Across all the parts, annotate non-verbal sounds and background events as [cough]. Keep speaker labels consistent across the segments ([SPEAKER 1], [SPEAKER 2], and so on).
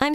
[SPEAKER 1] I'm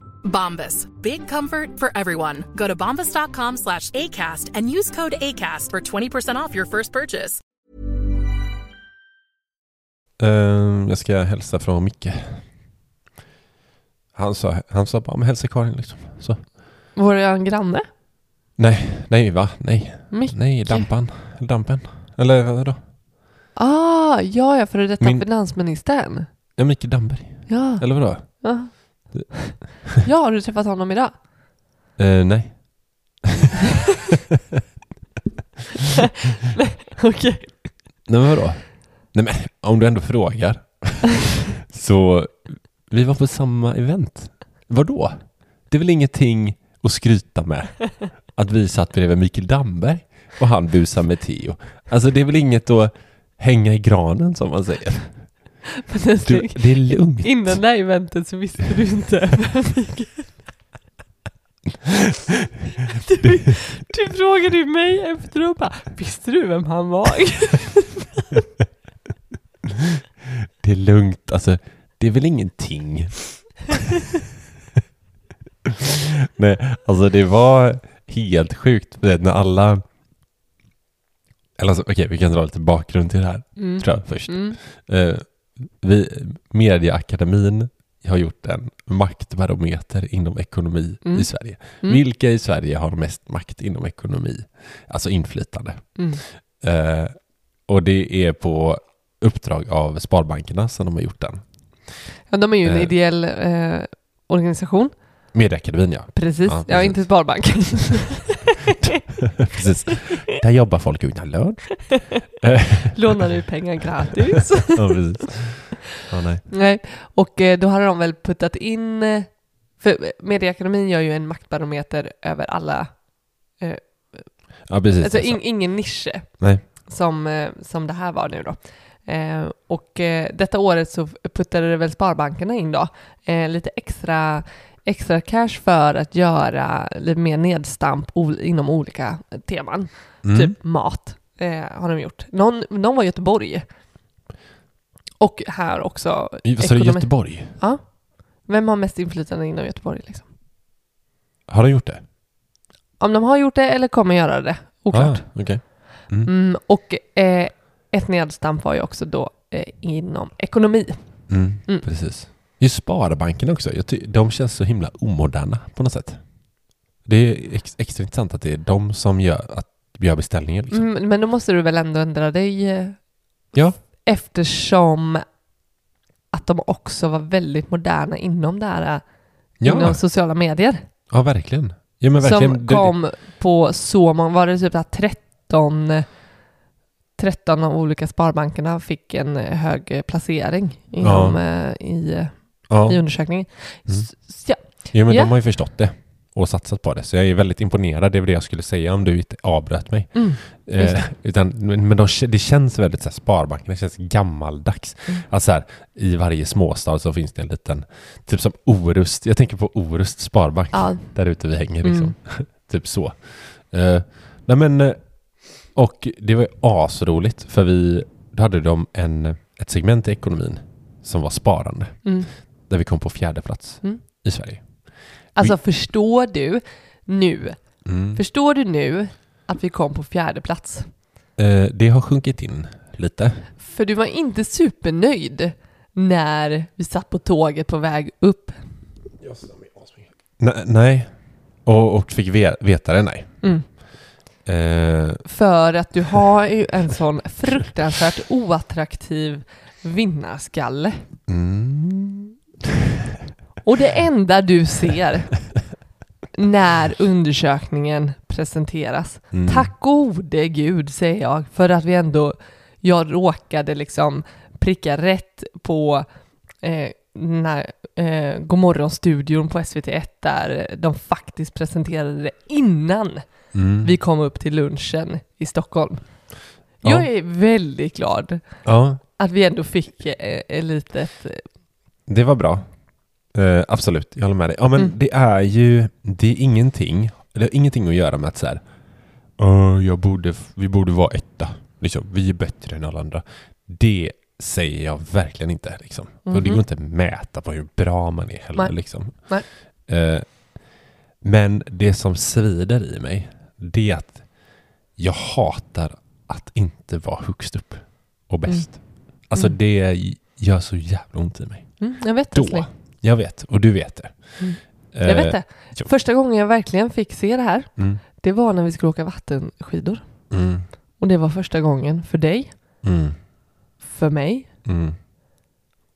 [SPEAKER 2] Bombas. Big comfort for everyone. Go to bombas.com slash ACAST and use code ACAST for 20% off your first purchase.
[SPEAKER 3] Ehm, jag ska hälsa från Micke. Han sa, han sa bara, men hälsa Karin liksom. Så.
[SPEAKER 4] Vår granne?
[SPEAKER 3] Nej, nej va? Nej.
[SPEAKER 4] Micke?
[SPEAKER 3] Nej, lampan. Lampen. Eller vadå?
[SPEAKER 4] Ah, ja, ja, före detta
[SPEAKER 3] Min-
[SPEAKER 4] finansministern.
[SPEAKER 3] Ja, Micke Damberg.
[SPEAKER 4] Ja.
[SPEAKER 3] Eller vadå?
[SPEAKER 4] [laughs] ja. Ja, har du träffat honom idag?
[SPEAKER 3] Eh, nej.
[SPEAKER 4] [laughs] Okej.
[SPEAKER 3] Nej men vadå? Nej men om du ändå frågar. [laughs] så vi var på samma event. Vadå? Det är väl ingenting att skryta med att vi satt bredvid Mikael Damberg och han busade med Theo. Alltså det är väl inget att hänga i granen som man säger. Du, det är lugnt.
[SPEAKER 4] Innan det här eventet så visste du inte [laughs] vem Mikael... Du, du frågade ju mig efter och bara, visste du vem han var?
[SPEAKER 3] Det är lugnt. Alltså det är väl
[SPEAKER 4] [laughs]
[SPEAKER 3] ingenting. Nej, alltså det var helt sjukt. Du vet, När alla... Eller alltså, okej, vi kan dra lite bakgrund till det här.
[SPEAKER 4] [laughs] Mm.
[SPEAKER 3] tror jag först.
[SPEAKER 4] Mm.
[SPEAKER 3] Eh, vi, Mediaakademin har gjort en maktbarometer inom ekonomi
[SPEAKER 4] Mm.
[SPEAKER 3] i Sverige.
[SPEAKER 4] Mm.
[SPEAKER 3] Vilka i Sverige har mest makt inom ekonomi? Alltså inflytande.
[SPEAKER 4] Mm.
[SPEAKER 3] Eh, och det är på uppdrag av Sparbankerna som de har gjort den.
[SPEAKER 4] Ja, de är ju en
[SPEAKER 3] Eh.
[SPEAKER 4] ideell eh, organisation.
[SPEAKER 3] Mediaakademin [laughs] ja,
[SPEAKER 4] Precis.
[SPEAKER 3] Ja,
[SPEAKER 4] Ja,
[SPEAKER 3] precis.
[SPEAKER 4] inte [laughs] Sparbank.
[SPEAKER 3] precis. Där jobbar folk utan lön. [laughs]
[SPEAKER 4] Lånar du pengar gratis?
[SPEAKER 3] ja, precis. Ja, nej.
[SPEAKER 4] Nej, och eh, då hade de väl puttat in... eh, För Mediaakademin gör ju en maktbarometer över alla...
[SPEAKER 3] ja precis.
[SPEAKER 4] Alltså
[SPEAKER 3] Alltså.
[SPEAKER 4] in, ingen nisch eh,
[SPEAKER 3] Nej.
[SPEAKER 4] som, eh, som det här var nu då. Eh, och eh, detta året så puttade det väl Sparbankerna in då, eh, lite extra, extra cash för att göra lite mer nedstamp ol- inom olika teman.
[SPEAKER 3] Mm.
[SPEAKER 4] Typ mat eh, har de gjort. Någon, någon var i Göteborg. Och här också.
[SPEAKER 3] Vad sa du,
[SPEAKER 4] ekonomi-
[SPEAKER 3] Göteborg?
[SPEAKER 4] Vem har mest inflytande inom Göteborg? Liksom?
[SPEAKER 3] Har de gjort det?
[SPEAKER 4] Om de har gjort det eller kommer göra det, oklart.
[SPEAKER 3] Ah, okej.
[SPEAKER 4] Mm, och eh, ett nedstamp var ju också då eh, inom ekonomi.
[SPEAKER 3] Mm,
[SPEAKER 4] Mm.
[SPEAKER 3] Precis. Just Sparbanken också. Jag ty- de känns så himla omoderna på något sätt. Det är ex- extra intressant att det är de som gör, att, gör beställningen. Liksom.
[SPEAKER 4] Mm, men då måste du väl ändå ändra dig? eh,
[SPEAKER 3] Ja.
[SPEAKER 4] Eftersom att de också var väldigt moderna inom det här, eh,
[SPEAKER 3] Ja,
[SPEAKER 4] inom sociala medier.
[SPEAKER 3] ja, verkligen. Ja, men verkligen.
[SPEAKER 4] Som
[SPEAKER 3] Det-
[SPEAKER 4] kom på så många, var det typ att 13, 13 av olika sparbankerna fick en eh, hög eh, placering inom, eh, i, eh,
[SPEAKER 3] ja,
[SPEAKER 4] i undersökningen.
[SPEAKER 3] Mm.
[SPEAKER 4] S- s- Ja,
[SPEAKER 3] ja, men
[SPEAKER 4] ja.
[SPEAKER 3] de har ju förstått det och satsat på det. Så jag är väldigt imponerad. Det är väl det jag skulle säga om du inte avbröt mig.
[SPEAKER 4] mm. Just
[SPEAKER 3] Eh, utan, men men de, k- det känns väldigt så här, Sparbanken, det känns gammaldags.
[SPEAKER 4] Mm.
[SPEAKER 3] Att så här, I varje småstad så finns det en liten, typ som Orust. Jag tänker på Orust Sparbank.
[SPEAKER 4] ja.
[SPEAKER 3] [laughs] där ute vi hänger
[SPEAKER 4] Mm.
[SPEAKER 3] liksom. typ så. Eh, nej men, eh, Och det var ju asroligt för vi, då hade de en, ett segment i ekonomin som var sparande.
[SPEAKER 4] Mm.
[SPEAKER 3] Där vi kom på fjärde plats
[SPEAKER 4] Mm.
[SPEAKER 3] i Sverige.
[SPEAKER 4] Alltså förstår du nu?
[SPEAKER 3] Mm.
[SPEAKER 4] Förstår du nu att vi kom på fjärde plats?
[SPEAKER 3] Eh, det har sjunkit in lite.
[SPEAKER 4] För du var inte supernöjd när vi satt på tåget på väg upp.
[SPEAKER 3] Ne- nej. Och, och fick ve- veta det, nej.
[SPEAKER 4] Mm.
[SPEAKER 3] Eh,
[SPEAKER 4] För att du har ju en sån fruktansvärt oattraktiv vinnarskalle.
[SPEAKER 3] mm.
[SPEAKER 4] Och det enda du ser när undersökningen presenteras,
[SPEAKER 3] Mm.
[SPEAKER 4] tack gode gud säger jag, för att vi ändå, jag råkade liksom pricka rätt på eh, den här eh, Godmorgon-studion på SVT1 där de faktiskt presenterade det innan
[SPEAKER 3] Mm.
[SPEAKER 4] vi kom upp till lunchen i Stockholm.
[SPEAKER 3] Ja.
[SPEAKER 4] Jag är väldigt glad
[SPEAKER 3] Ja,
[SPEAKER 4] att vi ändå fick eh, ett litet...
[SPEAKER 3] det var bra. Eh, absolut, jag håller med dig. Ja, men
[SPEAKER 4] Mm.
[SPEAKER 3] det är ju, det är ingenting, det har ingenting att göra med att så här, "Åh, jag borde, f- vi borde vara etta, liksom, vi är bättre än alla andra. Det säger jag verkligen inte, liksom. Och det
[SPEAKER 4] Mhm.
[SPEAKER 3] går inte att mäta på hur bra man är heller,
[SPEAKER 4] Nej.
[SPEAKER 3] liksom.
[SPEAKER 4] Nej.
[SPEAKER 3] Eh, men det som svider i mig, det är att jag hatar att inte vara högst upp och bäst. Alltså
[SPEAKER 4] Mm.
[SPEAKER 3] det gör så jävla ont i mig.
[SPEAKER 4] Mm, jag vet
[SPEAKER 3] Då.
[SPEAKER 4] älskling.
[SPEAKER 3] Jag vet, och du vet det. Eh,
[SPEAKER 4] Mm. Jag vet det.
[SPEAKER 3] jo.
[SPEAKER 4] Första gången jag verkligen fick se det här,
[SPEAKER 3] Mm,
[SPEAKER 4] det var när vi skulle åka vattenskidor.
[SPEAKER 3] mm,
[SPEAKER 4] Och det var första gången för dig,
[SPEAKER 3] mm,
[SPEAKER 4] för mig
[SPEAKER 3] mm,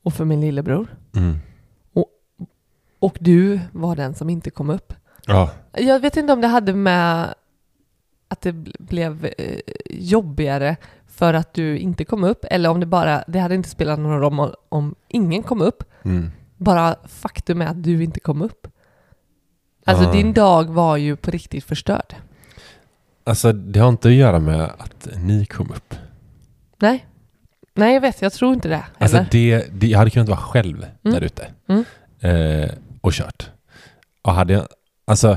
[SPEAKER 4] och för min lillebror.
[SPEAKER 3] mm.
[SPEAKER 4] Och du var den som inte kom upp.
[SPEAKER 3] Ja,
[SPEAKER 4] Jag vet inte om det hade med att det bl- blev eh, jobbigare för att du inte kom upp eller om det bara, det hade inte spelat någon roll om, om ingen kom upp.
[SPEAKER 3] mm,
[SPEAKER 4] Bara faktum är att du inte kom upp. Alltså
[SPEAKER 3] Ah.
[SPEAKER 4] din dag var ju på riktigt förstörd.
[SPEAKER 3] alltså det har inte att göra med att ni kom upp.
[SPEAKER 4] Nej. Nej, jag vet. Jag tror inte det.
[SPEAKER 3] Alltså
[SPEAKER 4] heller.
[SPEAKER 3] det, det, jag hade kunnat vara själv där ute
[SPEAKER 4] Mm.
[SPEAKER 3] eh, och kört. Och hade jag, alltså,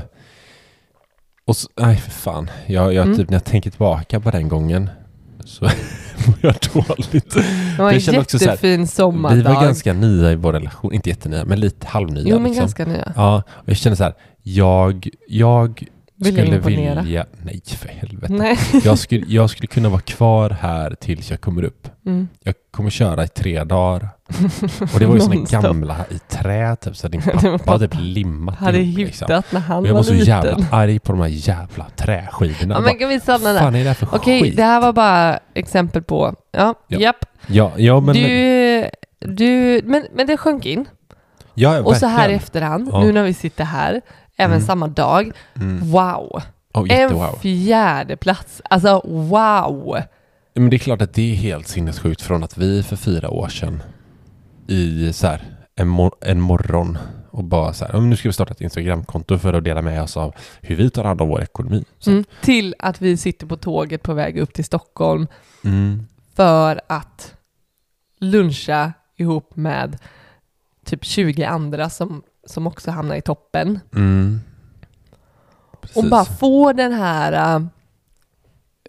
[SPEAKER 3] och så, nej för fan. Jag, jag,
[SPEAKER 4] Mm.
[SPEAKER 3] typ, när jag tänker tillbaka på den gången så [laughs] mår jag dåligt.
[SPEAKER 4] det var en
[SPEAKER 3] jag känner också så här,
[SPEAKER 4] jättefin sommardag.
[SPEAKER 3] Vi var ganska nya i vår relation, inte jättenya, men lite halvnya.
[SPEAKER 4] Jo, men
[SPEAKER 3] liksom.
[SPEAKER 4] ganska nya.
[SPEAKER 3] Ja, och jag känner så här, jag, jag
[SPEAKER 4] Vill jag
[SPEAKER 3] skulle
[SPEAKER 4] imponera? Mm.
[SPEAKER 3] vilja... Nej, för helvete.
[SPEAKER 4] Nej.
[SPEAKER 3] Jag, skulle, jag skulle kunna vara kvar här tills jag kommer upp.
[SPEAKER 4] Mm.
[SPEAKER 3] Jag kommer köra i tre dagar. Och det var ju såna
[SPEAKER 4] [laughs] Nonstop.
[SPEAKER 3] gamla i trä, typ, så
[SPEAKER 4] [laughs]
[SPEAKER 3] din
[SPEAKER 4] var
[SPEAKER 3] pappa, hade typ
[SPEAKER 4] pappa.
[SPEAKER 3] limmat
[SPEAKER 4] Hade
[SPEAKER 3] ihop,
[SPEAKER 4] hittat när
[SPEAKER 3] liksom.
[SPEAKER 4] han
[SPEAKER 3] Och jag var
[SPEAKER 4] var
[SPEAKER 3] så
[SPEAKER 4] liten.
[SPEAKER 3] jävla arg på de här jävla träskidorna.
[SPEAKER 4] Ja,
[SPEAKER 3] Jag
[SPEAKER 4] men kan vi stanna
[SPEAKER 3] bara,
[SPEAKER 4] där?
[SPEAKER 3] fan är det här för
[SPEAKER 4] Okej,
[SPEAKER 3] skit?
[SPEAKER 4] det här var bara exempel på... Ja,
[SPEAKER 3] Ja.
[SPEAKER 4] japp.
[SPEAKER 3] Ja, ja, men,
[SPEAKER 4] du, du, men, men det sjönk in.
[SPEAKER 3] ja,
[SPEAKER 4] Och så här i
[SPEAKER 3] verkligen.
[SPEAKER 4] efterhand,
[SPEAKER 3] Ja.
[SPEAKER 4] nu när vi sitter här, även samma dag. Wow!
[SPEAKER 3] Oh,
[SPEAKER 4] En
[SPEAKER 3] jättewow.
[SPEAKER 4] fjärde plats. Alltså wow!
[SPEAKER 3] Men det är klart att det är helt sinnessjukt från att vi för fyra år sedan i så här, en, mor- en morgon och bara så här, "Ja, men nu ska vi starta ett Instagramkonto för att dela med oss av hur vi tar hand om vår ekonomi. Så,
[SPEAKER 4] Mm. Till att vi sitter på tåget på väg upp till Stockholm
[SPEAKER 3] mm,
[SPEAKER 4] för att luncha ihop med typ 20 andra som, som också hamnar i toppen.
[SPEAKER 3] mm.
[SPEAKER 4] Och
[SPEAKER 3] Precis.
[SPEAKER 4] bara få den här... äh,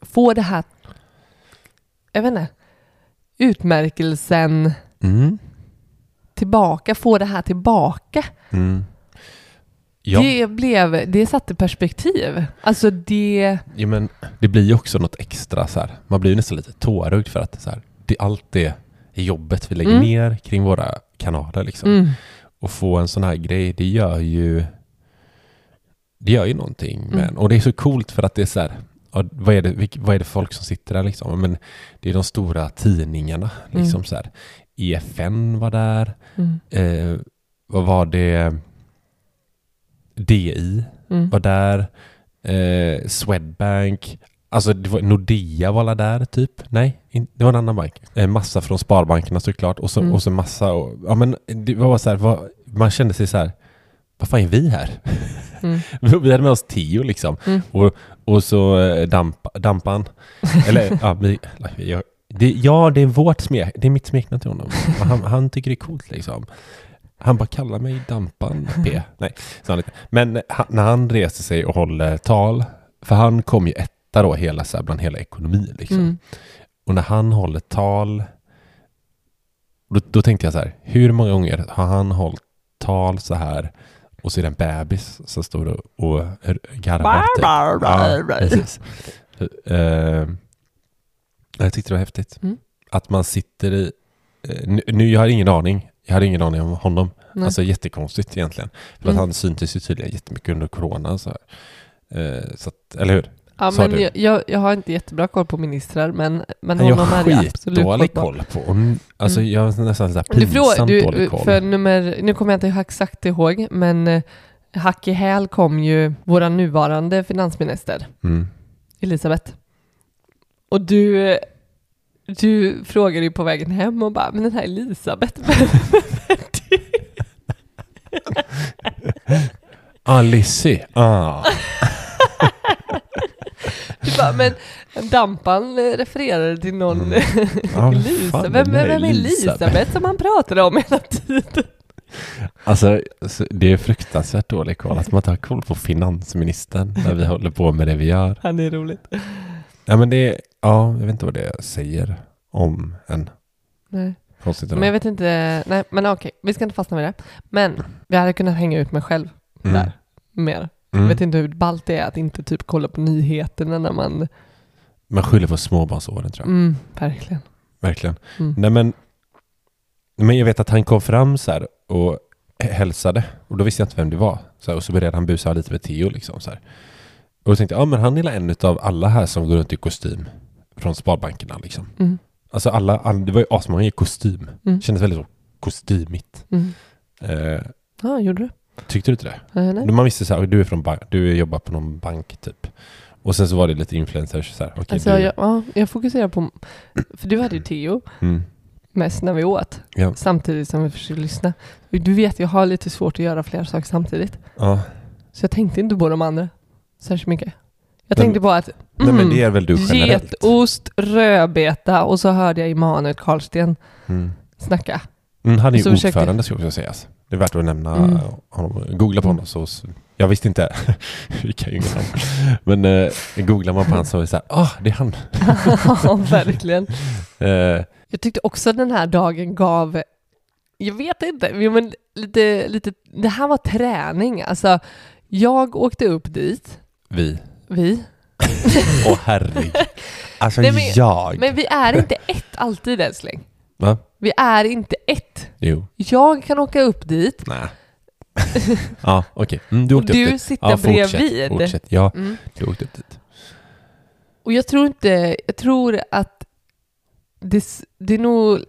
[SPEAKER 4] Få det här... Jag vet inte. Utmärkelsen
[SPEAKER 3] Mm,
[SPEAKER 4] tillbaka. Få det här tillbaka.
[SPEAKER 3] mm. Ja,
[SPEAKER 4] Det, blev, det satte perspektiv. Alltså det...
[SPEAKER 3] ja, men det blir ju också något extra så här. Man blir ju nästan lite tårögd för att så här, det, allt det jobbet vi lägger
[SPEAKER 4] Mm.
[SPEAKER 3] ner kring våra kanaler liksom.
[SPEAKER 4] Mm,
[SPEAKER 3] och få en sån här grej, det gör ju det gör ju någonting med
[SPEAKER 4] Mm.
[SPEAKER 3] en. Och det är så coolt för att det är så här, ja, vad, är det, vilk- vad är det för folk som sitter där liksom? Ja, Men det är de stora tidningarna. Liksom
[SPEAKER 4] Mm.
[SPEAKER 3] så här. EFN var där.
[SPEAKER 4] mm,
[SPEAKER 3] Eh, vad var det? DI
[SPEAKER 4] mm.
[SPEAKER 3] var där. Eh, Swedbank. Alltså det var, Nordea var alla där typ? Nej, in, det var en annan bank. Eh, massa från sparbankerna såklart och så,
[SPEAKER 4] Mm.
[SPEAKER 3] och så massa. Och, ja men det var bara så här, vad, man kände sig så här, vad fan är vi här?
[SPEAKER 4] Mm.
[SPEAKER 3] [laughs] vi hade med oss Tio liksom.
[SPEAKER 4] Mm.
[SPEAKER 3] Och, och så eh, damp, Dampan.
[SPEAKER 4] [laughs]
[SPEAKER 3] Eller ja, vi, jag, det, ja, det är vårt smek, det är mitt smeknamn till honom. Han, han tycker det är coolt liksom. Han bara kallar mig Dampan
[SPEAKER 4] [laughs]
[SPEAKER 3] P. Nej, sa han inte. Men han, när han reser sig och håller tal, för han kom ju ett, mäta då hela, så här, bland hela ekonomin. Liksom.
[SPEAKER 4] Mm.
[SPEAKER 3] Och när han håller tal, då, då tänkte jag så här, hur många gånger har han hållit tal så här och så är det en bebis som står och, och garvar? typ. Ja, precis. Eh, jag tyckte det var häftigt.
[SPEAKER 4] Mm.
[SPEAKER 3] Att man sitter i... eh, nu- nu, jag har ingen aning. Jag hade ingen aning om honom.
[SPEAKER 4] Nej.
[SPEAKER 3] Alltså jättekonstigt egentligen. För att
[SPEAKER 4] Mm.
[SPEAKER 3] han syntes ju tydligen jättemycket under corona. Så här. Eh, så att, eller hur?
[SPEAKER 4] Ja,
[SPEAKER 3] sa
[SPEAKER 4] men
[SPEAKER 3] du.
[SPEAKER 4] jag, jag, jag har inte jättebra koll på ministrar, men, men
[SPEAKER 3] Nej, jag
[SPEAKER 4] honom hade
[SPEAKER 3] har
[SPEAKER 4] jag absolut koll
[SPEAKER 3] skitdålig
[SPEAKER 4] på.
[SPEAKER 3] koll på. Och, n- alltså
[SPEAKER 4] Mm.
[SPEAKER 3] jag har nästan så här
[SPEAKER 4] Du frå,
[SPEAKER 3] pinsamt
[SPEAKER 4] du, eh,
[SPEAKER 3] dålig koll.
[SPEAKER 4] för nummer, nu kommer jag inte exakt ihåg, men eh, hack i häl kom ju vår nuvarande finansminister,
[SPEAKER 3] Mm.
[SPEAKER 4] Elisabeth. Och du, eh, du frågade ju på vägen hem och bara, men den här Elisabeth, [laughs] vem är det?
[SPEAKER 3] Ah, Lizzie. Ah.
[SPEAKER 4] Du bara, men Dampan eh, refererade till någon
[SPEAKER 3] Mm. Ja, vad
[SPEAKER 4] [laughs] Elisa.
[SPEAKER 3] fan,
[SPEAKER 4] Vem,
[SPEAKER 3] den där
[SPEAKER 4] vem, vem är Elisabeth som han pratade om [laughs] hela tiden?
[SPEAKER 3] Alltså, så det är fruktansvärt dålig koll att man inte har koll på finansministern när vi håller på med det vi gör.
[SPEAKER 4] Han är roligt.
[SPEAKER 3] Ja, men det är, ja, jag vet inte vad det säger om en.
[SPEAKER 4] Nej.
[SPEAKER 3] Konstigt nog.
[SPEAKER 4] Men jag vet inte, nej men okej, vi ska inte fastna med det. Men vi hade kunnat hänga ut mig själv
[SPEAKER 3] Mm.
[SPEAKER 4] där mer.
[SPEAKER 3] Mm.
[SPEAKER 4] Jag vet inte hur ballt det är att inte typ kolla på nyheterna när man...
[SPEAKER 3] Man skyller på småbarnsåren tror jag.
[SPEAKER 4] Mm, verkligen.
[SPEAKER 3] Verkligen.
[SPEAKER 4] Mm.
[SPEAKER 3] Nej, men, men jag vet att han kom fram så här och hälsade och då visste jag inte vem det var. Så här, och så började han busa lite med Theo liksom så här. Och då tänkte jag, ja men han är en av alla här som går runt i kostym från sparbankerna liksom.
[SPEAKER 4] Mm,
[SPEAKER 3] Alltså alla, all, det var ju asmånga i kostym.
[SPEAKER 4] Mm.
[SPEAKER 3] Kändes väldigt så kostymigt.
[SPEAKER 4] mm.
[SPEAKER 3] Eh,
[SPEAKER 4] Ja, gjorde du?
[SPEAKER 3] tyckte du inte det?
[SPEAKER 4] Eh, nej.
[SPEAKER 3] Man visste så här, du är från bank, du jobbar på någon bank typ. Och sen så var det lite influencers så här. okej,
[SPEAKER 4] Alltså,
[SPEAKER 3] du,
[SPEAKER 4] jag, ja, jag fokuserar på... För du hade ju Theo
[SPEAKER 3] mm,
[SPEAKER 4] mest när vi åt,
[SPEAKER 3] ja,
[SPEAKER 4] samtidigt som vi försökte lyssna. Du vet, jag har lite svårt att göra flera saker samtidigt.
[SPEAKER 3] ja.
[SPEAKER 4] Så jag tänkte inte på de andra särskilt mycket. Jag
[SPEAKER 3] Nej,
[SPEAKER 4] tänkte bara att...
[SPEAKER 3] Nej
[SPEAKER 4] Mm.
[SPEAKER 3] men det är väl du generellt?
[SPEAKER 4] Getost, rödbeta och så hörde jag Immanuel Karlsten
[SPEAKER 3] Mm.
[SPEAKER 4] snacka. [laughs]
[SPEAKER 3] Mm, han är ju
[SPEAKER 4] Så försökte-
[SPEAKER 3] ordförande ska också sägas. Det är värt att nämna
[SPEAKER 4] Mm.
[SPEAKER 3] honom. Googla på honom så... så- Jag visste inte. [laughs] Vi kan ju inget om. Men eh, googlar man på honom så är det så här, ah, det är han.
[SPEAKER 4] ja, verkligen.
[SPEAKER 3] Eh,
[SPEAKER 4] Jag tyckte också att den här dagen gav, jag vet inte, jo, men lite, lite, det här var träning. Alltså, jag åkte upp dit,
[SPEAKER 3] vi.
[SPEAKER 4] vi,
[SPEAKER 3] Åh
[SPEAKER 4] [laughs]
[SPEAKER 3] herregud. Alltså
[SPEAKER 4] Nej, men-
[SPEAKER 3] jag.
[SPEAKER 4] men vi är inte ett alltid älskling.
[SPEAKER 3] Va?
[SPEAKER 4] Vi är inte ett.
[SPEAKER 3] Jo.
[SPEAKER 4] Jag kan åka upp dit, [laughs]
[SPEAKER 3] Nej. ja, okej. Mm, du
[SPEAKER 4] Och
[SPEAKER 3] åkte
[SPEAKER 4] du
[SPEAKER 3] upp dit.
[SPEAKER 4] sitter
[SPEAKER 3] ja, fortsätt,
[SPEAKER 4] bredvid.
[SPEAKER 3] Fortsätt. Ja,
[SPEAKER 4] Mm.
[SPEAKER 3] du åkte upp dit.
[SPEAKER 4] Och jag tror inte, jag tror att det, s- det är nog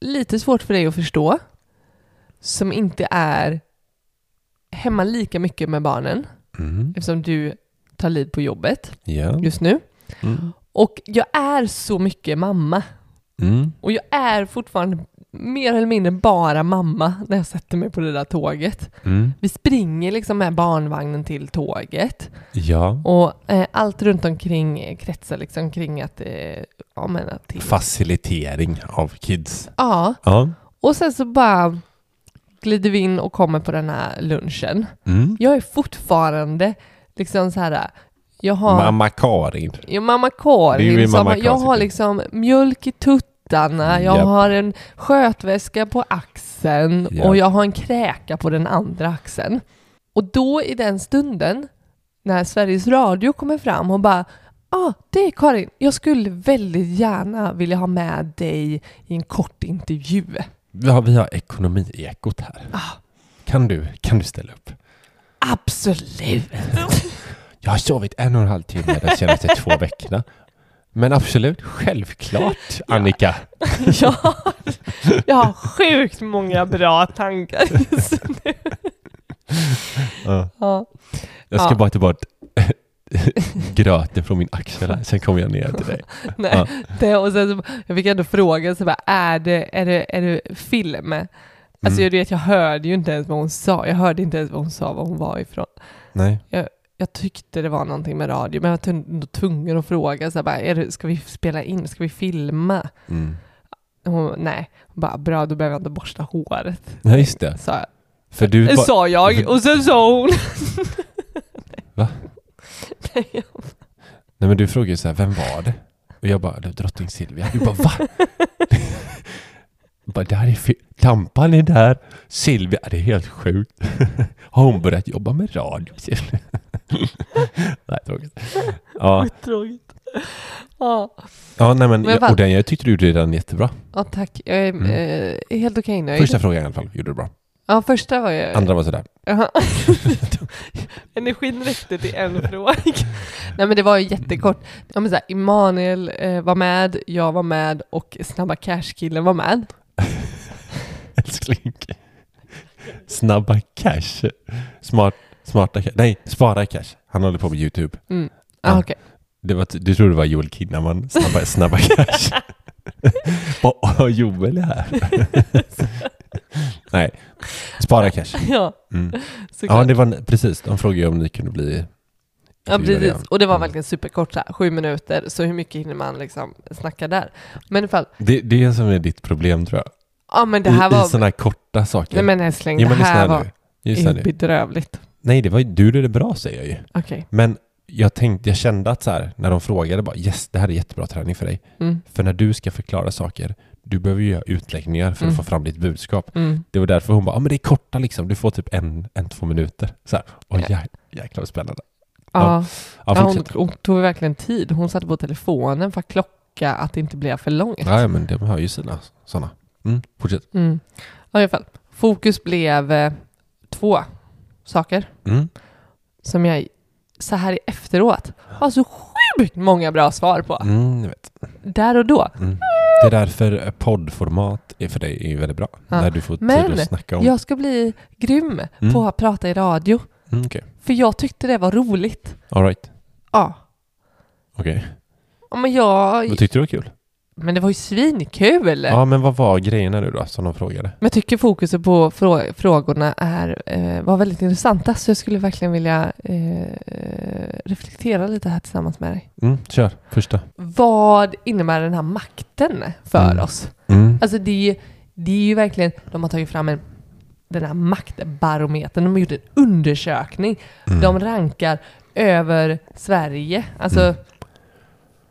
[SPEAKER 4] lite svårt för dig att förstå som inte är hemma lika mycket med barnen
[SPEAKER 3] Mm.
[SPEAKER 4] eftersom du tar lid på jobbet
[SPEAKER 3] Ja.
[SPEAKER 4] just nu.
[SPEAKER 3] Mm.
[SPEAKER 4] Och jag är så mycket mamma.
[SPEAKER 3] Mm.
[SPEAKER 4] Och jag är fortfarande mer eller mindre bara mamma när jag sätter mig på det där tåget.
[SPEAKER 3] Mm.
[SPEAKER 4] Vi springer liksom med barnvagnen till tåget.
[SPEAKER 3] Ja.
[SPEAKER 4] Och eh, allt runt omkring eh, kretsar liksom kring att... Eh, ja, men att till.
[SPEAKER 3] Facilitering av kids.
[SPEAKER 4] Ja,
[SPEAKER 3] Ja.
[SPEAKER 4] och sen så bara glider vi in och kommer på den här lunchen.
[SPEAKER 3] Mm.
[SPEAKER 4] Jag är fortfarande liksom så här... Jag har...
[SPEAKER 3] Mamma Karin.
[SPEAKER 4] Ja, mamma
[SPEAKER 3] Det är ju
[SPEAKER 4] Karin. Som,
[SPEAKER 3] mamma
[SPEAKER 4] jag
[SPEAKER 3] Karin.
[SPEAKER 4] har liksom mjölk i tuttarna, jag
[SPEAKER 3] Japp.
[SPEAKER 4] har en skötväska på axeln
[SPEAKER 3] Japp.
[SPEAKER 4] och jag har en kräka på den andra axeln. Och då i den stunden när Sveriges Radio kommer fram och bara ah, det är Karin, jag skulle väldigt gärna vilja ha med dig i en kort intervju.
[SPEAKER 3] Vi har, vi har ekonomiekot här.
[SPEAKER 4] Ah.
[SPEAKER 3] Kan, du, kan du ställa upp?
[SPEAKER 4] Absolut! [laughs]
[SPEAKER 3] Jag har sovit en och en halv timme de senaste två
[SPEAKER 4] [laughs]
[SPEAKER 3] veckorna. Men absolut, självklart Annika.
[SPEAKER 4] Jag har, jag har sjukt många bra tankar [laughs] just nu.
[SPEAKER 3] Ja.
[SPEAKER 4] Ja.
[SPEAKER 3] Jag ska
[SPEAKER 4] Ja.
[SPEAKER 3] bara ta [laughs] bort gröten från min axel här, sen kommer jag ner till dig.
[SPEAKER 4] [laughs] Nej,
[SPEAKER 3] Ja.
[SPEAKER 4] det, och sen så, jag fick ändå frågan, så bara, är, det, är, det, är det film? Alltså
[SPEAKER 3] Mm.
[SPEAKER 4] jag, du vet, jag hörde ju inte ens vad hon sa. Jag hörde inte ens vad hon sa, var hon var ifrån.
[SPEAKER 3] Nej.
[SPEAKER 4] Jag tyckte det var någonting med radio, men jag var ändå tvungen att fråga. Så bara, är det, ska vi spela in? Ska vi filma?
[SPEAKER 3] Mm.
[SPEAKER 4] Hon, nej, hon bara, bra, då behöver jag inte borsta håret,
[SPEAKER 3] Nej, just det.
[SPEAKER 4] sa jag.
[SPEAKER 3] För du bara,
[SPEAKER 4] sa jag, och sen sa hon...
[SPEAKER 3] Va?
[SPEAKER 4] Nej, jag-
[SPEAKER 3] Nej men du frågade ju så här, vem var det? Och jag bara, det var drottning Silvia. Du bara, va? [laughs] Jag bara, där är fel. Tampan är där. Silvia, det är helt sjukt. [laughs] Har hon börjat jobba med radio? Silvia? [laughs] nej, tråkigt. Ja,
[SPEAKER 4] Tråkigt. Ja,
[SPEAKER 3] ja nej men,
[SPEAKER 4] Men vad-
[SPEAKER 3] och den, jag tyckte du gjorde den jättebra.
[SPEAKER 4] ja tack. Jag är eh, helt okej nöjd.
[SPEAKER 3] Mm. Första frågan i alla fall gjorde du bra.
[SPEAKER 4] Ja, första var jag...
[SPEAKER 3] Andra var sådär. [laughs]
[SPEAKER 4] Jaha. [laughs] Energin räckte till en fråga. [laughs] Nej men det var ju jättekort. Ja, men så här, Emanuel eh, var med, jag var med och Snabba Cash-killen var med.
[SPEAKER 3] Älskling. Snabba cash. Smart, smarta cash. Nej, spara cash. Han håller på med YouTube.
[SPEAKER 4] Ah,
[SPEAKER 3] Ja.
[SPEAKER 4] okej.
[SPEAKER 3] Det var, du tror det var Joel Kinnaman, Snabba, snabba
[SPEAKER 4] [laughs]
[SPEAKER 3] Cash. Bara, "Åh, Joel är här. Nej, Spara Cash.
[SPEAKER 4] [laughs] Ja, [laughs]
[SPEAKER 3] Mm. Ja,
[SPEAKER 4] såklart.
[SPEAKER 3] det var precis. De frågade ju om ni kunde bli...
[SPEAKER 4] Ja, precis. Och det var
[SPEAKER 3] Mm.
[SPEAKER 4] verkligen superkort, så här, sju minuter, så hur mycket hinner man liksom snacka där? Men i alla fall,
[SPEAKER 3] Det, det är som är ditt problem tror jag.
[SPEAKER 4] ja men det här
[SPEAKER 3] I,
[SPEAKER 4] var...
[SPEAKER 3] i sådana här korta saker.
[SPEAKER 4] Nej men älskling,
[SPEAKER 3] jo,
[SPEAKER 4] det
[SPEAKER 3] men lyssna
[SPEAKER 4] här
[SPEAKER 3] här
[SPEAKER 4] var
[SPEAKER 3] nu. Lyssna nu.
[SPEAKER 4] bedrövligt.
[SPEAKER 3] Nej, det var, ju- du gjorde det bra säger jag ju.
[SPEAKER 4] Okej.
[SPEAKER 3] Men jag tänkte, jag kände att så här, när de frågade bara yes, det här är jättebra träning för dig.
[SPEAKER 4] Mm.
[SPEAKER 3] För när du ska förklara saker, du behöver ju göra utläggningar för att
[SPEAKER 4] Mm.
[SPEAKER 3] få fram ditt budskap.
[SPEAKER 4] Mm.
[SPEAKER 3] Det var därför hon bara, ja ah, men det är korta liksom, du får typ en, en två minuter. Så här, oj jä, jäklar vad
[SPEAKER 4] [laughs]
[SPEAKER 3] spännande.
[SPEAKER 4] Ja.
[SPEAKER 3] Ja,
[SPEAKER 4] Ja, hon,
[SPEAKER 3] fortsätt.
[SPEAKER 4] hon tog verkligen tid. Hon satte på telefonen för att klocka att det inte blev för långt.
[SPEAKER 3] Ja, ja, men de har ju sina sådana. Mm, fortsätt.
[SPEAKER 4] Mm. Ja, i alla fall. Fokus blev eh, två saker
[SPEAKER 3] Mm.
[SPEAKER 4] som jag så här i efteråt har så sjukt många bra svar på.
[SPEAKER 3] Mm, jag vet.
[SPEAKER 4] Där och då.
[SPEAKER 3] Mm. Det är därför poddformat är för dig är ju väldigt bra.
[SPEAKER 4] Ja.
[SPEAKER 3] När du får
[SPEAKER 4] Men
[SPEAKER 3] tid att snacka om.
[SPEAKER 4] Jag ska bli grym
[SPEAKER 3] Mm.
[SPEAKER 4] på att prata i radio.
[SPEAKER 3] Mm, Okej,
[SPEAKER 4] För jag tyckte det var roligt.
[SPEAKER 3] all right.
[SPEAKER 4] Ja.
[SPEAKER 3] Okej.
[SPEAKER 4] Ja, Men, jag,
[SPEAKER 3] Vad tyckte du var kul?
[SPEAKER 4] men det var ju svinkul!
[SPEAKER 3] Ja, men vad var grejerna nu då som de frågade?
[SPEAKER 4] Men jag tycker fokuset på frå- frågorna är, eh, var väldigt intressanta, så jag skulle verkligen vilja eh, reflektera lite här tillsammans med dig.
[SPEAKER 3] Mm, kör, första.
[SPEAKER 4] Vad innebär den här makten för
[SPEAKER 3] Mm.
[SPEAKER 4] oss?
[SPEAKER 3] Mm.
[SPEAKER 4] Alltså det är, ju- det är ju verkligen, de har tagit fram en, den här maktbarometern, de har gjort en undersökning. De rankar över Sverige, alltså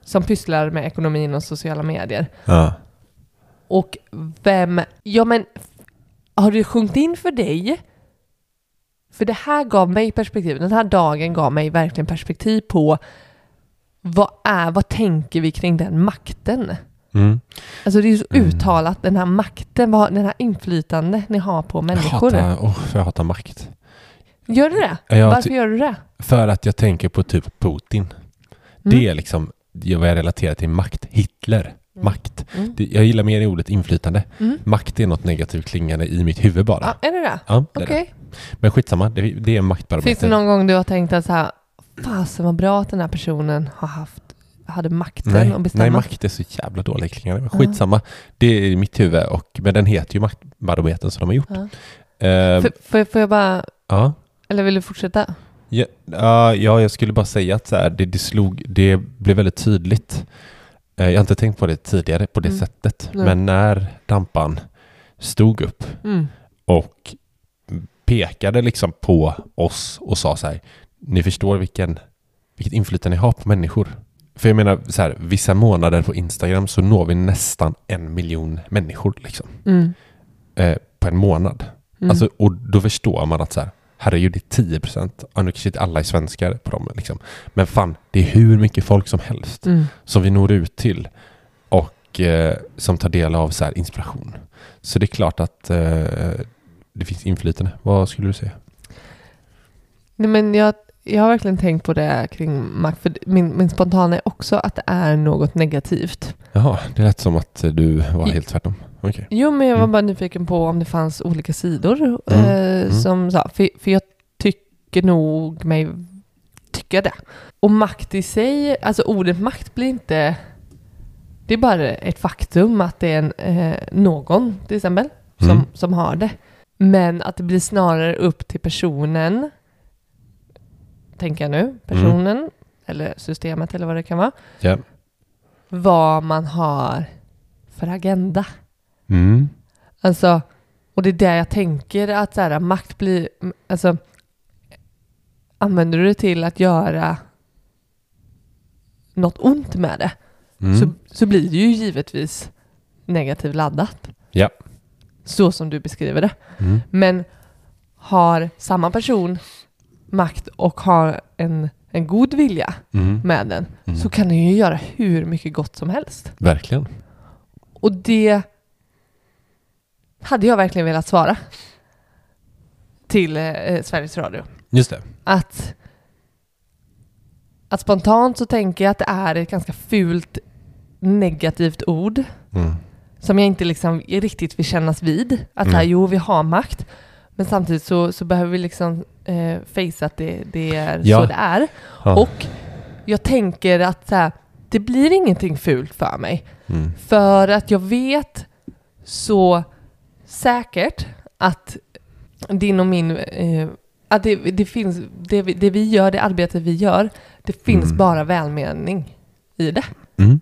[SPEAKER 4] som pysslar med ekonomin och sociala medier.
[SPEAKER 3] Ja.
[SPEAKER 4] Och vem... Ja men, har du sjunkit in för dig? För det här gav mig perspektiv. Den här dagen gav mig verkligen perspektiv på vad är, vad tänker vi kring den makten?
[SPEAKER 3] Mm.
[SPEAKER 4] Alltså det är ju så uttalat, den här makten, vad, den här inflytande ni har på
[SPEAKER 3] Jag,
[SPEAKER 4] människor.
[SPEAKER 3] hatar, oh, jag hatar makt.
[SPEAKER 4] Gör du det?
[SPEAKER 3] Ja, jag
[SPEAKER 4] Varför
[SPEAKER 3] ty-
[SPEAKER 4] gör du det?
[SPEAKER 3] För att jag tänker på typ Putin.
[SPEAKER 4] Mm.
[SPEAKER 3] Det är liksom jag- vad jag relaterar till makt. Hitler.
[SPEAKER 4] Mm.
[SPEAKER 3] Makt. Det, jag gillar mer i ordet inflytande. Makt är något negativt klingande i mitt huvud bara.
[SPEAKER 4] Ja, är det det?
[SPEAKER 3] Ja, det är
[SPEAKER 4] Okej.
[SPEAKER 3] det. Men skitsamma, det, det är en maktbarometer.
[SPEAKER 4] Finns det någon gång du har tänkt att så här, fasen vad bra att den här personen har haft, hade makten
[SPEAKER 3] Nej,
[SPEAKER 4] att bestämma?
[SPEAKER 3] nej, makt är så jävla dåligt klingande. Men skitsamma, det är i mitt huvud. Och, men den heter ju Maktbarometern som de har gjort.
[SPEAKER 4] Ja.
[SPEAKER 3] Eh,
[SPEAKER 4] F- får, jag- får jag bara,
[SPEAKER 3] ja.
[SPEAKER 4] eller vill du fortsätta?
[SPEAKER 3] Ja, ja, ja, jag skulle bara säga att så här, det, det, slog, det blev väldigt tydligt. Eh, Jag har inte tänkt på det tidigare på det
[SPEAKER 4] Mm.
[SPEAKER 3] sättet.
[SPEAKER 4] Nej.
[SPEAKER 3] Men när dampan stod upp
[SPEAKER 4] Mm.
[SPEAKER 3] och pekade liksom på oss och sa så här, ni förstår vilken, vilket inflytande ni har på människor. För jag menar, så här, vissa månader på Instagram så når vi nästan en miljon människor liksom,
[SPEAKER 4] Mm.
[SPEAKER 3] eh, på en månad.
[SPEAKER 4] Mm.
[SPEAKER 3] Alltså, och då förstår man att så här, herregud, det är 10 procent. Ja, nu kanske inte alla är svenskar på dem, liksom. men fan, det är hur mycket folk som helst
[SPEAKER 4] Mm.
[SPEAKER 3] som vi når ut till och eh, som tar del av så här, inspiration. Så det är klart att eh, det finns inflytande. Vad skulle du säga?
[SPEAKER 4] Nej, men jag, jag har verkligen tänkt på det kring makt. För min, min spontana är också att det är något negativt.
[SPEAKER 3] Jaha, det lät som att du var
[SPEAKER 4] I-
[SPEAKER 3] helt tvärtom. Okej.
[SPEAKER 4] Jo, men jag var
[SPEAKER 3] Mm.
[SPEAKER 4] bara nyfiken på om det fanns olika sidor.
[SPEAKER 3] Mm.
[SPEAKER 4] Eh,
[SPEAKER 3] Mm.
[SPEAKER 4] Som sa, för, för jag tycker nog mig tycka det. Och makt i sig, alltså ordet makt blir inte... Det är bara ett faktum att det är en, eh, någon till exempel som,
[SPEAKER 3] Mm.
[SPEAKER 4] som har det. Men att det blir snarare upp till personen, tänker jag
[SPEAKER 3] Mm.
[SPEAKER 4] nu, personen eller systemet eller vad det kan vara,
[SPEAKER 3] Ja.
[SPEAKER 4] vad man har för agenda.
[SPEAKER 3] Mm.
[SPEAKER 4] Alltså, och det är där jag tänker att så här, makt blir... m- Alltså, använder du det till att göra något ont med det
[SPEAKER 3] Mm.
[SPEAKER 4] så, så blir det ju givetvis negativt laddat.
[SPEAKER 3] Ja.
[SPEAKER 4] Så som du beskriver det.
[SPEAKER 3] Mm.
[SPEAKER 4] Men har samma person makt och har en, en god vilja
[SPEAKER 3] Mm.
[SPEAKER 4] med den
[SPEAKER 3] Mm.
[SPEAKER 4] så kan den ju göra hur mycket gott som helst.
[SPEAKER 3] Verkligen.
[SPEAKER 4] Och det hade jag verkligen velat svara till eh, Sveriges Radio.
[SPEAKER 3] Just det.
[SPEAKER 4] Att, att spontant så tänker jag att det är ett ganska fult negativt ord
[SPEAKER 3] Mm.
[SPEAKER 4] som jag inte liksom riktigt vill kännas vid. Att så här,
[SPEAKER 3] Mm.
[SPEAKER 4] jo, vi har makt. Men samtidigt så, så behöver vi liksom eh, face att det, det är
[SPEAKER 3] Ja.
[SPEAKER 4] så det är.
[SPEAKER 3] Ja.
[SPEAKER 4] Och jag tänker att så här, det blir ingenting fult för mig.
[SPEAKER 3] Mm.
[SPEAKER 4] För att jag vet så säkert att din och min... Eh, att det, det, finns, det, vi- det vi gör, det arbete vi gör, det finns
[SPEAKER 3] Mm.
[SPEAKER 4] bara välmening i det.
[SPEAKER 3] Mm.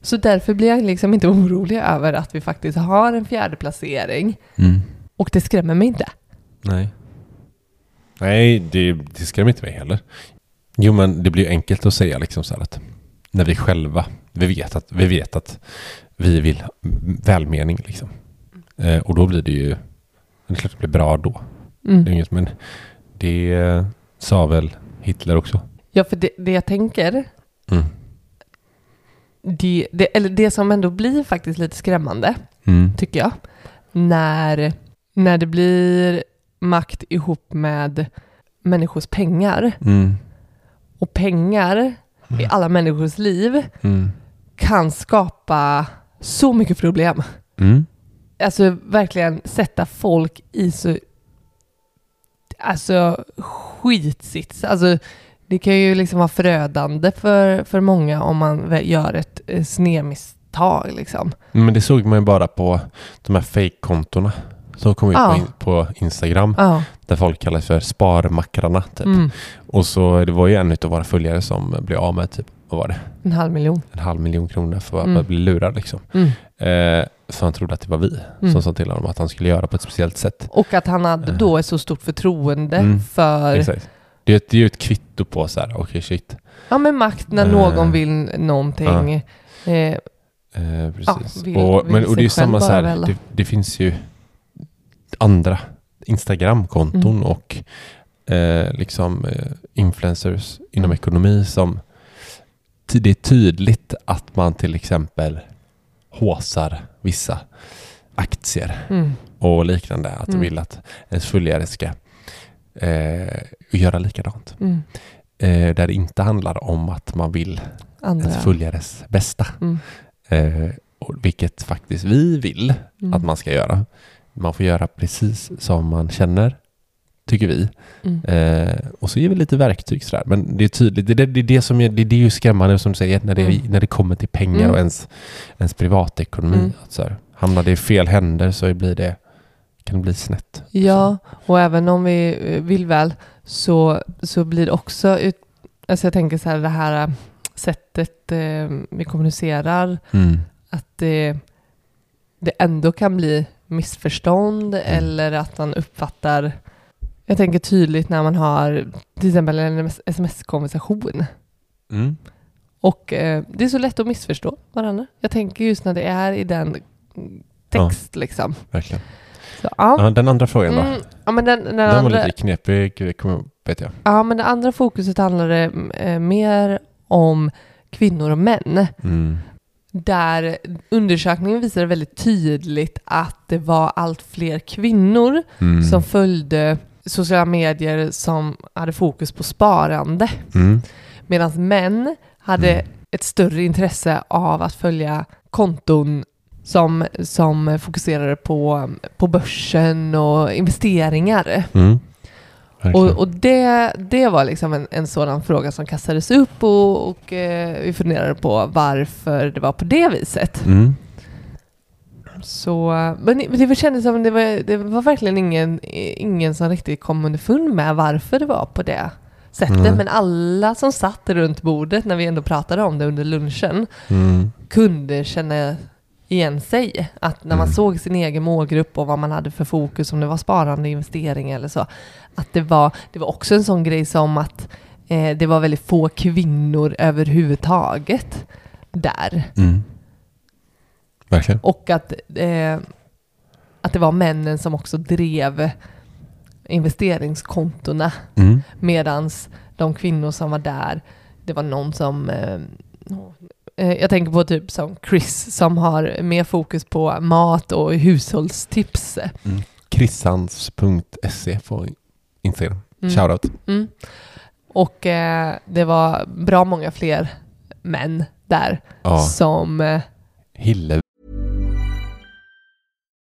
[SPEAKER 4] Så därför blir jag liksom inte [laughs] orolig över att vi faktiskt har en fjärde placering
[SPEAKER 3] Mm.
[SPEAKER 4] Och det skrämmer mig inte.
[SPEAKER 3] Nej. Nej, det, det skrämmer inte mig heller. Jo, men det blir ju enkelt att säga liksom så här att när vi själva, vi vet att vi, vet att vi vill ha välmening liksom.
[SPEAKER 4] Mm.
[SPEAKER 3] Eh, och då blir det ju, det är klart det blir bra då.
[SPEAKER 4] Mm.
[SPEAKER 3] Det är inget, men det eh, sa väl Hitler också.
[SPEAKER 4] Ja, för det, det jag tänker,
[SPEAKER 3] Mm.
[SPEAKER 4] det, det, eller det som ändå blir faktiskt lite skrämmande,
[SPEAKER 3] Mm.
[SPEAKER 4] tycker jag, när, när det blir makt ihop med människors pengar.
[SPEAKER 3] Mm.
[SPEAKER 4] Och pengar i alla människors liv
[SPEAKER 3] Mm.
[SPEAKER 4] kan skapa så mycket problem.
[SPEAKER 3] Mm.
[SPEAKER 4] Alltså verkligen sätta folk i så... Alltså skitsits. Alltså det kan ju liksom vara förödande för, för många om man väl gör ett eh, snedmisstag liksom.
[SPEAKER 3] Men det såg man ju bara på de här fejkkontona som kom ut
[SPEAKER 4] Ja.
[SPEAKER 3] på, in, på Instagram.
[SPEAKER 4] Ja.
[SPEAKER 3] Där folk kallas för sparmackrarna typ.
[SPEAKER 4] Mm.
[SPEAKER 3] Och så det var ju en av våra följare som blev av med typ, vad var det,
[SPEAKER 4] En halv miljon.
[SPEAKER 3] en halv miljon kronor för att
[SPEAKER 4] Mm.
[SPEAKER 3] bli lurad liksom.
[SPEAKER 4] Mm.
[SPEAKER 3] Eh, för han trodde att det var vi
[SPEAKER 4] Mm.
[SPEAKER 3] som sa till honom att han skulle göra på ett speciellt sätt.
[SPEAKER 4] Och att han hade då ett så stort förtroende
[SPEAKER 3] Mm.
[SPEAKER 4] för
[SPEAKER 3] Exakt. Det är ju ett, det är ju ett kvitto på så här, okej shit.
[SPEAKER 4] ja, men makt när
[SPEAKER 3] Eh.
[SPEAKER 4] någon vill någonting. Eh,
[SPEAKER 3] Eh, precis.
[SPEAKER 4] vill-
[SPEAKER 3] och, men,
[SPEAKER 4] vill
[SPEAKER 3] och det är
[SPEAKER 4] sig
[SPEAKER 3] ju samma
[SPEAKER 4] själv
[SPEAKER 3] så
[SPEAKER 4] bara
[SPEAKER 3] här,
[SPEAKER 4] väl.
[SPEAKER 3] det, det finns ju andra Instagram-konton
[SPEAKER 4] Mm.
[SPEAKER 3] och eh, liksom eh, influencers inom ekonomi som ty- det är tydligt att man till exempel håsar vissa aktier
[SPEAKER 4] mm.
[SPEAKER 3] och liknande. Att de
[SPEAKER 4] Mm.
[SPEAKER 3] vill att ens följare ska eh, göra likadant.
[SPEAKER 4] Mm.
[SPEAKER 3] Eh, där det inte handlar om att man vill
[SPEAKER 4] Andra.
[SPEAKER 3] ens följares bästa.
[SPEAKER 4] Mm.
[SPEAKER 3] Eh, och vilket faktiskt vi vill
[SPEAKER 4] Mm.
[SPEAKER 3] att man ska göra. Man får göra precis som man känner, tycker vi.
[SPEAKER 4] Mm.
[SPEAKER 3] Eh, och så ger vi lite verktyg sådär. Men det är tydligt, det, är det, det, är det, som är, det, det är ju skrämmande som du säger, när det,
[SPEAKER 4] Mm.
[SPEAKER 3] när det kommer till pengar
[SPEAKER 4] Mm.
[SPEAKER 3] och ens, ens privatekonomi.
[SPEAKER 4] Mm.
[SPEAKER 3] Att så här, hamnar det i fel händer så blir det, kan det bli snett.
[SPEAKER 4] Ja,
[SPEAKER 3] Liksom.
[SPEAKER 4] och även om vi eh, vill väl så, så blir det också... Ut, alltså jag tänker så här, det här eh, sättet eh, vi kommunicerar,
[SPEAKER 3] Mm.
[SPEAKER 4] att det, det ändå kan bli missförstånd
[SPEAKER 3] Mm.
[SPEAKER 4] eller att man uppfattar... Jag tänker tydligt när man har till exempel en sms-konversation.
[SPEAKER 3] Mm.
[SPEAKER 4] Och eh, det är så lätt att missförstå varandra. Jag tänker just när det är i den text liksom.
[SPEAKER 3] Verkligen.
[SPEAKER 4] Så, ja.
[SPEAKER 3] Ja, den andra frågan då.
[SPEAKER 4] Mm, ja, men den, den,
[SPEAKER 3] Den var
[SPEAKER 4] andra,
[SPEAKER 3] lite knepig, kommer jag ihåg, vet jag.
[SPEAKER 4] Ja, men det andra fokuset handlade eh, mer om kvinnor och män.
[SPEAKER 3] Mm.
[SPEAKER 4] Där undersökningen visade väldigt tydligt att det var allt fler kvinnor
[SPEAKER 3] Mm.
[SPEAKER 4] som följde sociala medier som hade fokus på sparande.
[SPEAKER 3] Mm.
[SPEAKER 4] Medan män hade
[SPEAKER 3] Mm.
[SPEAKER 4] ett större intresse av att följa konton som, som fokuserade på, på börsen och investeringar.
[SPEAKER 3] Mm.
[SPEAKER 4] Och,
[SPEAKER 3] Verkligen.
[SPEAKER 4] och det, det var liksom en, en sådan fråga som kastades upp och, och eh, vi funderade på varför det var på det viset.
[SPEAKER 3] Mm.
[SPEAKER 4] Så, men det- det kändes som det var, det var verkligen ingen, ingen som riktigt kom underfund med varför det var på det sättet.
[SPEAKER 3] Nej.
[SPEAKER 4] Men alla som satt runt bordet när vi ändå pratade om det under lunchen
[SPEAKER 3] Mm.
[SPEAKER 4] kunde känna igen sig. Att när man såg sin egen målgrupp och vad man hade för fokus, om det var sparande, investering eller så. Att det var, det var också en sån grej som att eh, det var väldigt få kvinnor överhuvudtaget där.
[SPEAKER 3] Mm. Verkligen.
[SPEAKER 4] Och att, eh, att det var männen som också drev investeringskontona
[SPEAKER 3] Mm.
[SPEAKER 4] medan de kvinnor som var där, det var någon som... Eh, eh, jag tänker på typ som Chris som har mer fokus på mat och hushållstips.
[SPEAKER 3] Krissans.se E på Instagram.
[SPEAKER 4] Mm.
[SPEAKER 3] Shoutout.
[SPEAKER 4] Mm. Och eh, det var bra många fler män där
[SPEAKER 3] Ja.
[SPEAKER 4] som... Eh,
[SPEAKER 3] Hille.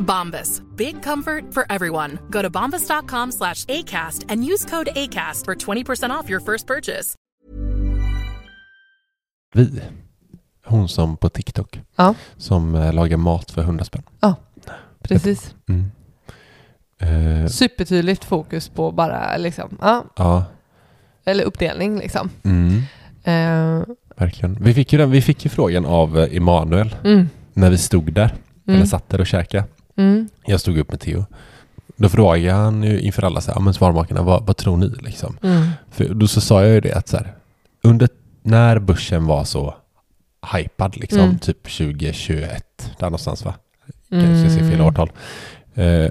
[SPEAKER 2] Bombas. Big comfort for everyone. Go to bombas.com slash ACAST and use code ACAST for 20% off your first purchase.
[SPEAKER 3] Vi. Hon som på TikTok.
[SPEAKER 4] ja,
[SPEAKER 3] Som eh, lagar mat för 100 spänn.
[SPEAKER 4] ja, precis.
[SPEAKER 3] Mm. Eh,
[SPEAKER 4] Supertydligt fokus på bara liksom, ja,
[SPEAKER 3] ja.
[SPEAKER 4] eller uppdelning liksom.
[SPEAKER 3] Mm.
[SPEAKER 4] Eh,
[SPEAKER 3] Verkligen. Vi fick, ju den, vi fick ju frågan av eh, Emanuel
[SPEAKER 4] mm,
[SPEAKER 3] när vi stod där. Eller
[SPEAKER 4] Mm.
[SPEAKER 3] satt där och käkade.
[SPEAKER 4] mm,
[SPEAKER 3] Jag stod upp med Theo. Då frågade han ju inför alla så här, "Ja, men svarmakarna, vad, vad tror ni liksom?
[SPEAKER 4] mm,
[SPEAKER 3] För då så sa jag ju det att så här, under, när börsen var så hypad liksom,
[SPEAKER 4] Mm.
[SPEAKER 3] typ 2021, där någonstans va?
[SPEAKER 4] mm.
[SPEAKER 3] Kanske jag ser fel årtal. Eh,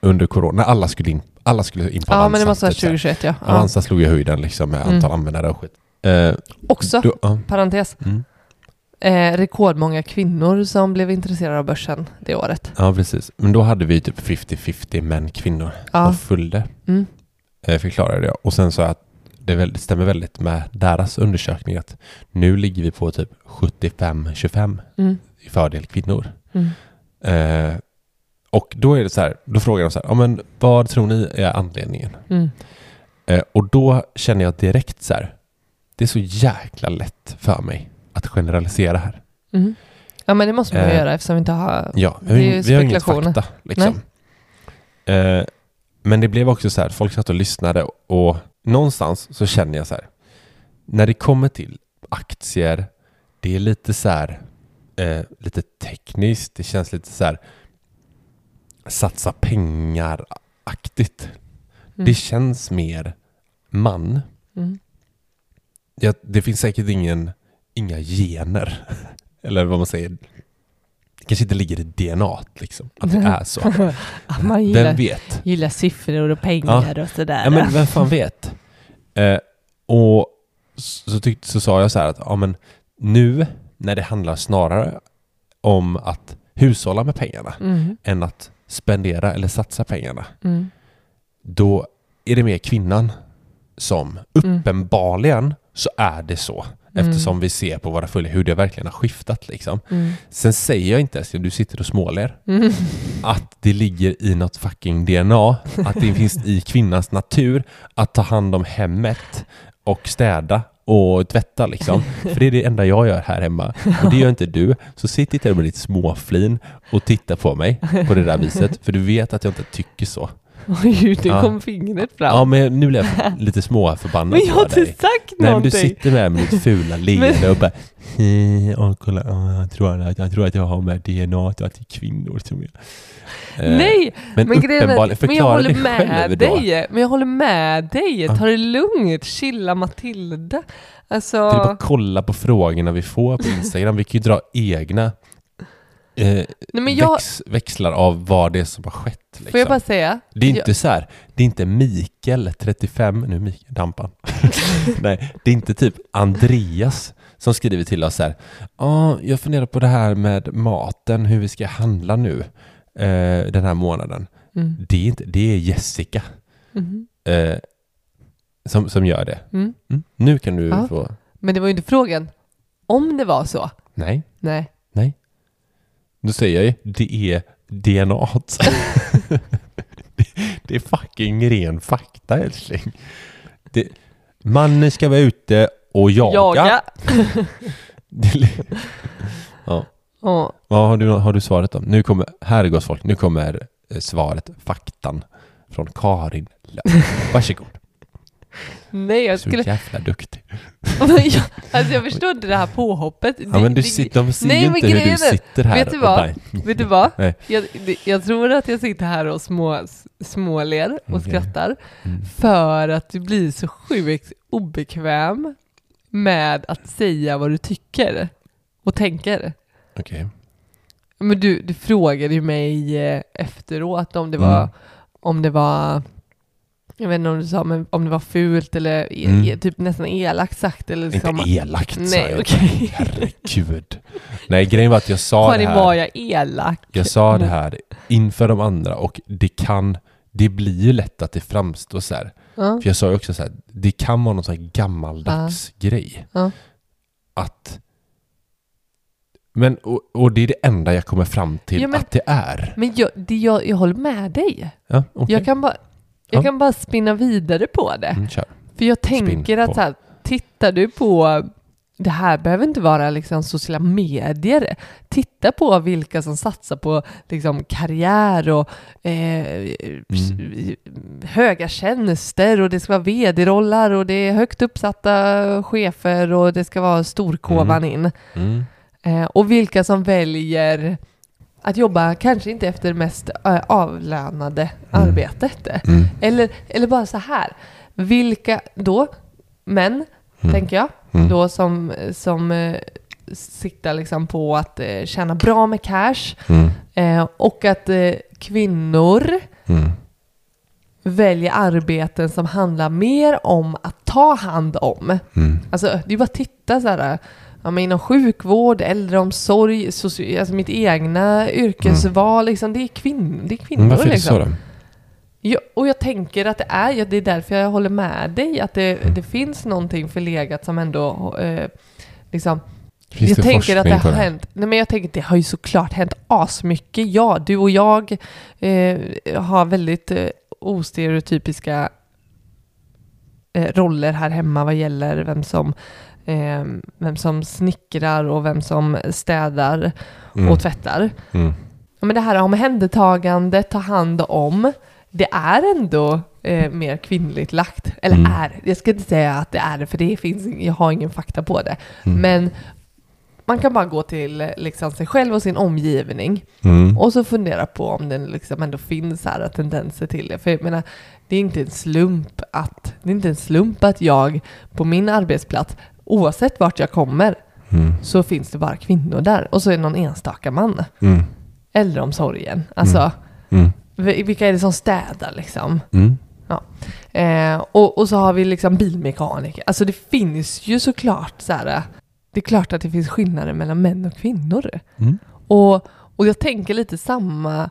[SPEAKER 3] under corona, när alla skulle in, alla skulle in på
[SPEAKER 4] Ja,
[SPEAKER 3] Avanza.
[SPEAKER 4] men det måste vara
[SPEAKER 3] typ så här.
[SPEAKER 4] 2021 ja. ja.
[SPEAKER 3] Avanza slog ju höjden liksom med
[SPEAKER 4] Mm.
[SPEAKER 3] antal användare och skit. Eh,
[SPEAKER 4] Också,
[SPEAKER 3] då, ja,
[SPEAKER 4] parentes,
[SPEAKER 3] mm.
[SPEAKER 4] eh, rekordmånga kvinnor som blev intresserade av börsen det året.
[SPEAKER 3] ja, precis. Men då hade vi ju typ 50-50 män kvinnor.
[SPEAKER 4] Ja,
[SPEAKER 3] De följde,
[SPEAKER 4] Mm.
[SPEAKER 3] eh, förklarade jag. Och sen sa jag att det väl- det stämmer väldigt med deras undersökning att nu ligger vi på typ 75-25
[SPEAKER 4] mm,
[SPEAKER 3] i fördel kvinnor.
[SPEAKER 4] mm,
[SPEAKER 3] Eh, och då är det så här, då frågar de så här, ja men vad tror ni är anledningen?
[SPEAKER 4] mm,
[SPEAKER 3] Eh, och då känner jag direkt så här, det är så jäkla lätt för mig att generalisera här.
[SPEAKER 4] mm. Ja, men det måste man ju
[SPEAKER 3] Eh,
[SPEAKER 4] göra eftersom vi inte har...
[SPEAKER 3] Ja, vi
[SPEAKER 4] Det
[SPEAKER 3] har,
[SPEAKER 4] är ju
[SPEAKER 3] ju- vi har ju inget
[SPEAKER 4] spekulationer.
[SPEAKER 3] fakta. Liksom. Eh, men det blev också så här, folk satt och lyssnade och någonstans så känner jag så här, när det kommer till aktier, det är lite så här, eh, lite tekniskt, det känns lite så här, satsa pengar-aktigt. Det känns mer man.
[SPEAKER 4] Mm.
[SPEAKER 3] Ja, det finns säkert ingen, inga gener, [laughs] eller vad man säger. Det kanske inte ligger i DNA -t, liksom, att det är
[SPEAKER 4] [laughs]
[SPEAKER 3] så.
[SPEAKER 4] Ah, man
[SPEAKER 3] Vem
[SPEAKER 4] gillar,
[SPEAKER 3] vet?
[SPEAKER 4] gillar siffror och pengar och sådär.
[SPEAKER 3] Ja, men vem fan vet? Eh, och så, tyckte, så sa jag så här att ja, men nu när det handlar snarare om att hushålla med pengarna
[SPEAKER 4] Mm,
[SPEAKER 3] än att spendera eller satsa pengarna,
[SPEAKER 4] mm,
[SPEAKER 3] då är det mer kvinnan som
[SPEAKER 4] Mm.
[SPEAKER 3] uppenbarligen så är det så. Eftersom vi ser på våra följare hur det verkligen har skiftat. Liksom.
[SPEAKER 4] mm,
[SPEAKER 3] Sen säger jag inte, älskling, du sitter och småler,
[SPEAKER 4] mm,
[SPEAKER 3] att det ligger i något fucking DNA, att det finns i kvinnans natur att ta hand om hemmet och städa och tvätta liksom. För det är det enda jag gör här hemma. Och det gör inte du. Så sitt inte där med ditt småflin och titta på mig på det där viset. För du vet att jag inte tycker så.
[SPEAKER 4] [laughs] Oj, nu
[SPEAKER 3] Ja.
[SPEAKER 4] kom fingret fram.
[SPEAKER 3] Ja, men nu blev jag lite småförbannad
[SPEAKER 4] men jag har
[SPEAKER 3] på dig.
[SPEAKER 4] inte sagt
[SPEAKER 3] Nej, men du
[SPEAKER 4] någonting.
[SPEAKER 3] sitter med med ditt fula leende
[SPEAKER 4] [laughs] Men-
[SPEAKER 3] och bara "Eh, åh, kolla, åh, jag, tror att, jag tror att jag har med DNA och att det är kvinnor som jag. Eh,
[SPEAKER 4] Nej,
[SPEAKER 3] men
[SPEAKER 4] men grejen
[SPEAKER 3] uppenbarligen,
[SPEAKER 4] är, men jag
[SPEAKER 3] förklara
[SPEAKER 4] håller
[SPEAKER 3] dig själv
[SPEAKER 4] med
[SPEAKER 3] då.
[SPEAKER 4] dig. Men jag håller med dig. Ta det lugnt. Chilla Matilda. Alltså,
[SPEAKER 3] Det är bara att kolla på frågorna vi får på Instagram. Vi kan ju dra egna eh,
[SPEAKER 4] nej, men jag,
[SPEAKER 3] väx, växlar av vad det är som har skett.
[SPEAKER 4] får jag
[SPEAKER 3] Liksom.
[SPEAKER 4] bara säga?
[SPEAKER 3] Det är inte så här, det är inte
[SPEAKER 4] [laughs]
[SPEAKER 3] Mikael, 35, nu är Mikael, dampan. Nej, det är inte typ Andreas som skriver till oss så här. Ja, jag funderar på det här med maten, hur vi ska handla nu eh, den här månaden.
[SPEAKER 4] Mm.
[SPEAKER 3] Det är, inte, det är Jessica
[SPEAKER 4] Mhm.
[SPEAKER 3] eh, som, som gör det.
[SPEAKER 4] Mm.
[SPEAKER 3] Mm. Nu kan du
[SPEAKER 4] Ja.
[SPEAKER 3] få...
[SPEAKER 4] Men det var ju inte frågan om det var så.
[SPEAKER 3] Nej,
[SPEAKER 4] Nej.
[SPEAKER 3] nu säger jag ju det är DNA. Det- [laughs] det är fucking ren fakta älskling. Det, mannen ska vara ute och jaga. Det li-
[SPEAKER 4] Ja.
[SPEAKER 3] [laughs] Vad har du, har du svaret då? Nu kommer, här gott folk, nu kommer eh, svaret, faktan från Karin Lööf. Varsågod.
[SPEAKER 4] Nej, jag
[SPEAKER 3] Så
[SPEAKER 4] skulle... [laughs]
[SPEAKER 3] jävla duktig.
[SPEAKER 4] jag, alltså jag förstår inte det här påhoppet.
[SPEAKER 3] Ja, men du
[SPEAKER 4] Det- det-
[SPEAKER 3] sitter, de ser
[SPEAKER 4] Nej,
[SPEAKER 3] ju
[SPEAKER 4] men
[SPEAKER 3] inte hur
[SPEAKER 4] grejen
[SPEAKER 3] du
[SPEAKER 4] är-
[SPEAKER 3] sitter här.
[SPEAKER 4] vet du
[SPEAKER 3] och
[SPEAKER 4] vad?
[SPEAKER 3] bara-
[SPEAKER 4] Vet du vad?
[SPEAKER 3] Nej.
[SPEAKER 4] Jag, det- jag tror att jag sitter här och små, småler och
[SPEAKER 3] Okej.
[SPEAKER 4] skrattar
[SPEAKER 3] Mm.
[SPEAKER 4] för att du blir så sjukt obekväm med att säga vad du tycker och tänker.
[SPEAKER 3] Okej.
[SPEAKER 4] Men du, du frågade ju mig eh, efteråt om det
[SPEAKER 3] Mm.
[SPEAKER 4] var, om det var, jag vet inte om du sa, men om det var fult eller e-
[SPEAKER 3] Mm.
[SPEAKER 4] e- typ nästan elakt sagt eller liksom.
[SPEAKER 3] Inte elakt sa
[SPEAKER 4] Nej,
[SPEAKER 3] jag.
[SPEAKER 4] okej.
[SPEAKER 3] Herregud. Nej, grejen var att jag sa det
[SPEAKER 4] Karin, var
[SPEAKER 3] här.
[SPEAKER 4] jag elak?
[SPEAKER 3] Jag sa
[SPEAKER 4] Mm.
[SPEAKER 3] det här inför de andra och det kan, det blir ju lätt att det framstår så här.
[SPEAKER 4] Ja.
[SPEAKER 3] För jag sa ju också så här, det kan vara någon sån här gammaldags grej.
[SPEAKER 4] Ja.
[SPEAKER 3] Att... Men, och, och det är det enda jag kommer fram till
[SPEAKER 4] Ja, men-
[SPEAKER 3] att det är.
[SPEAKER 4] Men jag, det, jag, jag håller med dig.
[SPEAKER 3] Ja, okej.
[SPEAKER 4] Jag, kan bara, jag
[SPEAKER 3] Ja.
[SPEAKER 4] kan bara spinna vidare på det.
[SPEAKER 3] Mm, kör.
[SPEAKER 4] För jag tänker
[SPEAKER 3] på.
[SPEAKER 4] att så här, tittar du på, det här behöver inte vara liksom sociala medier. Titta på vilka som satsar på liksom karriär och eh, s-
[SPEAKER 3] Mm.
[SPEAKER 4] höga tjänster och det ska vara vd-rollar och det är högt uppsatta chefer och det ska vara storkovan in.
[SPEAKER 3] Mm.
[SPEAKER 4] Eh, och vilka som väljer att jobba kanske inte efter det mest eh, avlönade arbetet.
[SPEAKER 3] Mm.
[SPEAKER 4] Eller, eller bara så här. Vilka då, män, tänker jag,
[SPEAKER 3] Mm.
[SPEAKER 4] då som, som eh, siktar liksom på att eh, tjäna bra med cash
[SPEAKER 3] Mm.
[SPEAKER 4] eh, och att eh, kvinnor
[SPEAKER 3] Mm.
[SPEAKER 4] väljer arbeten som handlar mer om att ta hand om.
[SPEAKER 3] Mm.
[SPEAKER 4] Alltså, det är ju bara att titta så här. eh, Ja, men inom sjukvård, äldreomsorg, soci- alltså mitt egna yrkesval. Liksom, det, är kvinn, det är kvinnor.
[SPEAKER 3] Mm. Men Mm, varför är det
[SPEAKER 4] liksom.
[SPEAKER 3] så då?
[SPEAKER 4] Ja, och jag tänker att det är, ja, det är därför jag håller med dig, att det,
[SPEAKER 3] Mm.
[SPEAKER 4] det finns någonting förlegat som ändå eh, liksom,
[SPEAKER 3] Finns
[SPEAKER 4] jag
[SPEAKER 3] det
[SPEAKER 4] tänker att det
[SPEAKER 3] forskning på
[SPEAKER 4] har
[SPEAKER 3] det?
[SPEAKER 4] hänt. Nej, men jag tänker att det har ju såklart hänt asmycket. Ja, du och jag eh, har väldigt eh, ostereotypiska eh, roller här hemma vad gäller vem som, eh, vem som snickrar och vem som städar och tvättar.
[SPEAKER 3] Mm.
[SPEAKER 4] Ja, men det här omhändertagande, ta hand om, det är ändå eh, mer kvinnligt lagt. Eller
[SPEAKER 3] Mm.
[SPEAKER 4] är, jag ska inte säga att det är det, för det finns, ing- jag har ingen fakta på det.
[SPEAKER 3] Mm.
[SPEAKER 4] Men man kan bara gå till eh, liksom, sig själv och sin omgivning
[SPEAKER 3] Mm.
[SPEAKER 4] och så fundera på om det liksom ändå finns så här tendenser till det. För jag menar, det är inte en slump att, det är inte en slump att jag på min arbetsplats, oavsett vart jag kommer,
[SPEAKER 3] Mm.
[SPEAKER 4] så finns det bara kvinnor där. Och så är det någon enstaka man
[SPEAKER 3] Mm.
[SPEAKER 4] äldreomsorgen. Alltså,
[SPEAKER 3] Mm.
[SPEAKER 4] vi- vilka är det som städar liksom?
[SPEAKER 3] Mm.
[SPEAKER 4] Ja. Eh, och, och så har vi liksom bilmekaniker. Alltså det finns ju såklart så här, det är klart att det finns skillnader mellan män och kvinnor.
[SPEAKER 3] Mm.
[SPEAKER 4] Och, och jag tänker lite samma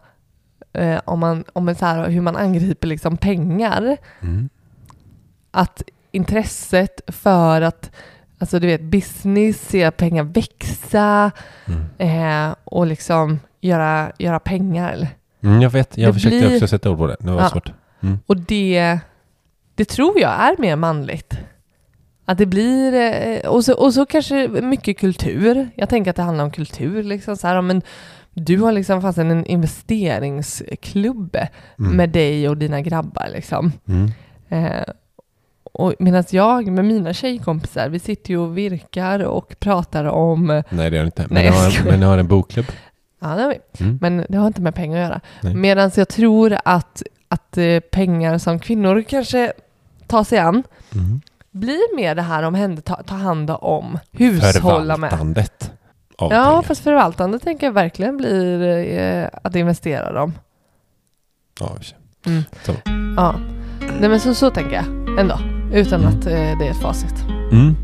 [SPEAKER 4] eh, om, man, om man så här, hur man angriper liksom pengar.
[SPEAKER 3] Mm.
[SPEAKER 4] Att intresset för att, alltså du vet, business, se pengar växa
[SPEAKER 3] Mm.
[SPEAKER 4] eh, och liksom göra, göra pengar.
[SPEAKER 3] Mm, jag vet, jag
[SPEAKER 4] Det
[SPEAKER 3] försökte
[SPEAKER 4] blir-
[SPEAKER 3] också sätta ord på det. Det var
[SPEAKER 4] Ja.
[SPEAKER 3] svårt.
[SPEAKER 4] Och det, det tror jag är mer manligt. Att det blir, eh, och så, och så kanske mycket kultur. Jag tänker att det handlar om kultur. Liksom, så här, ja, men du har liksom fast en investeringsklubb med dig och dina grabbar. Liksom.
[SPEAKER 3] Mm.
[SPEAKER 4] Eh, och medan jag med mina tjejkompisar, vi sitter ju och virkar och pratar om eh,
[SPEAKER 3] Nej, det gör det inte. Men
[SPEAKER 4] Nej,
[SPEAKER 3] jag
[SPEAKER 4] jag
[SPEAKER 3] har, en-
[SPEAKER 4] skojar.
[SPEAKER 3] men jag har en bokklubb.
[SPEAKER 4] Ja, det har vi.
[SPEAKER 3] Mm.
[SPEAKER 4] Men det har inte med pengar att göra.
[SPEAKER 3] Nej.
[SPEAKER 4] Medan jag tror att, att eh, pengar som kvinnor kanske tar sig an
[SPEAKER 3] Mm.
[SPEAKER 4] blir mer det här om hände, ta, ta hand om, hushålla med.
[SPEAKER 3] Förvaltandet av
[SPEAKER 4] Ja,
[SPEAKER 3] pengar.
[SPEAKER 4] fast förvaltande tänker jag verkligen blir eh, att investera dem.
[SPEAKER 3] Ja, i och för sig.
[SPEAKER 4] Mm.
[SPEAKER 3] Så.
[SPEAKER 4] Ja. Nej, men så, så tänker jag ändå. Utan att eh, det är ett facit.
[SPEAKER 3] Mm.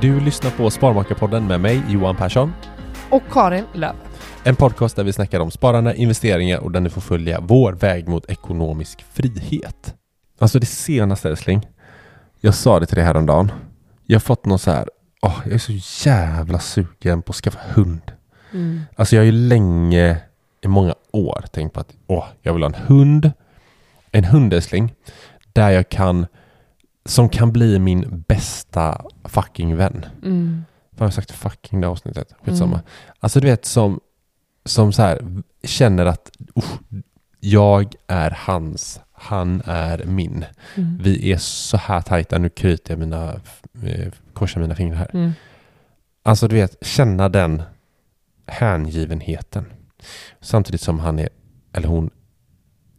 [SPEAKER 3] Du lyssnar på Sparmakarpodden med mig, Johan Persson.
[SPEAKER 4] Och Karin Lööf.
[SPEAKER 3] En podcast där vi snackar om sparande, investeringar och där ni får följa vår väg mot ekonomisk frihet. Alltså det senaste älskling. Jag sa det till dig häromdagen. Jag har fått någon så här, åh, jag är så jävla sugen på att skaffa hund.
[SPEAKER 4] Mm.
[SPEAKER 3] Alltså jag har ju länge, i många år tänkt på att åh, jag vill ha en hund. En hund älskling, där jag kan, som kan bli min bästa fucking vän.
[SPEAKER 4] Mm.
[SPEAKER 3] Fan, jag har sagt fucking det avsnittet. Skitsamma. Alltså du vet som, som så här känner att usch, jag är hans, han är min.
[SPEAKER 4] Mm.
[SPEAKER 3] Vi är så här tajta, nu kryter jag mina, eh, korsar mina fingrar här.
[SPEAKER 4] Mm.
[SPEAKER 3] Alltså du vet, känna den hängivenheten. Samtidigt som han är, eller hon,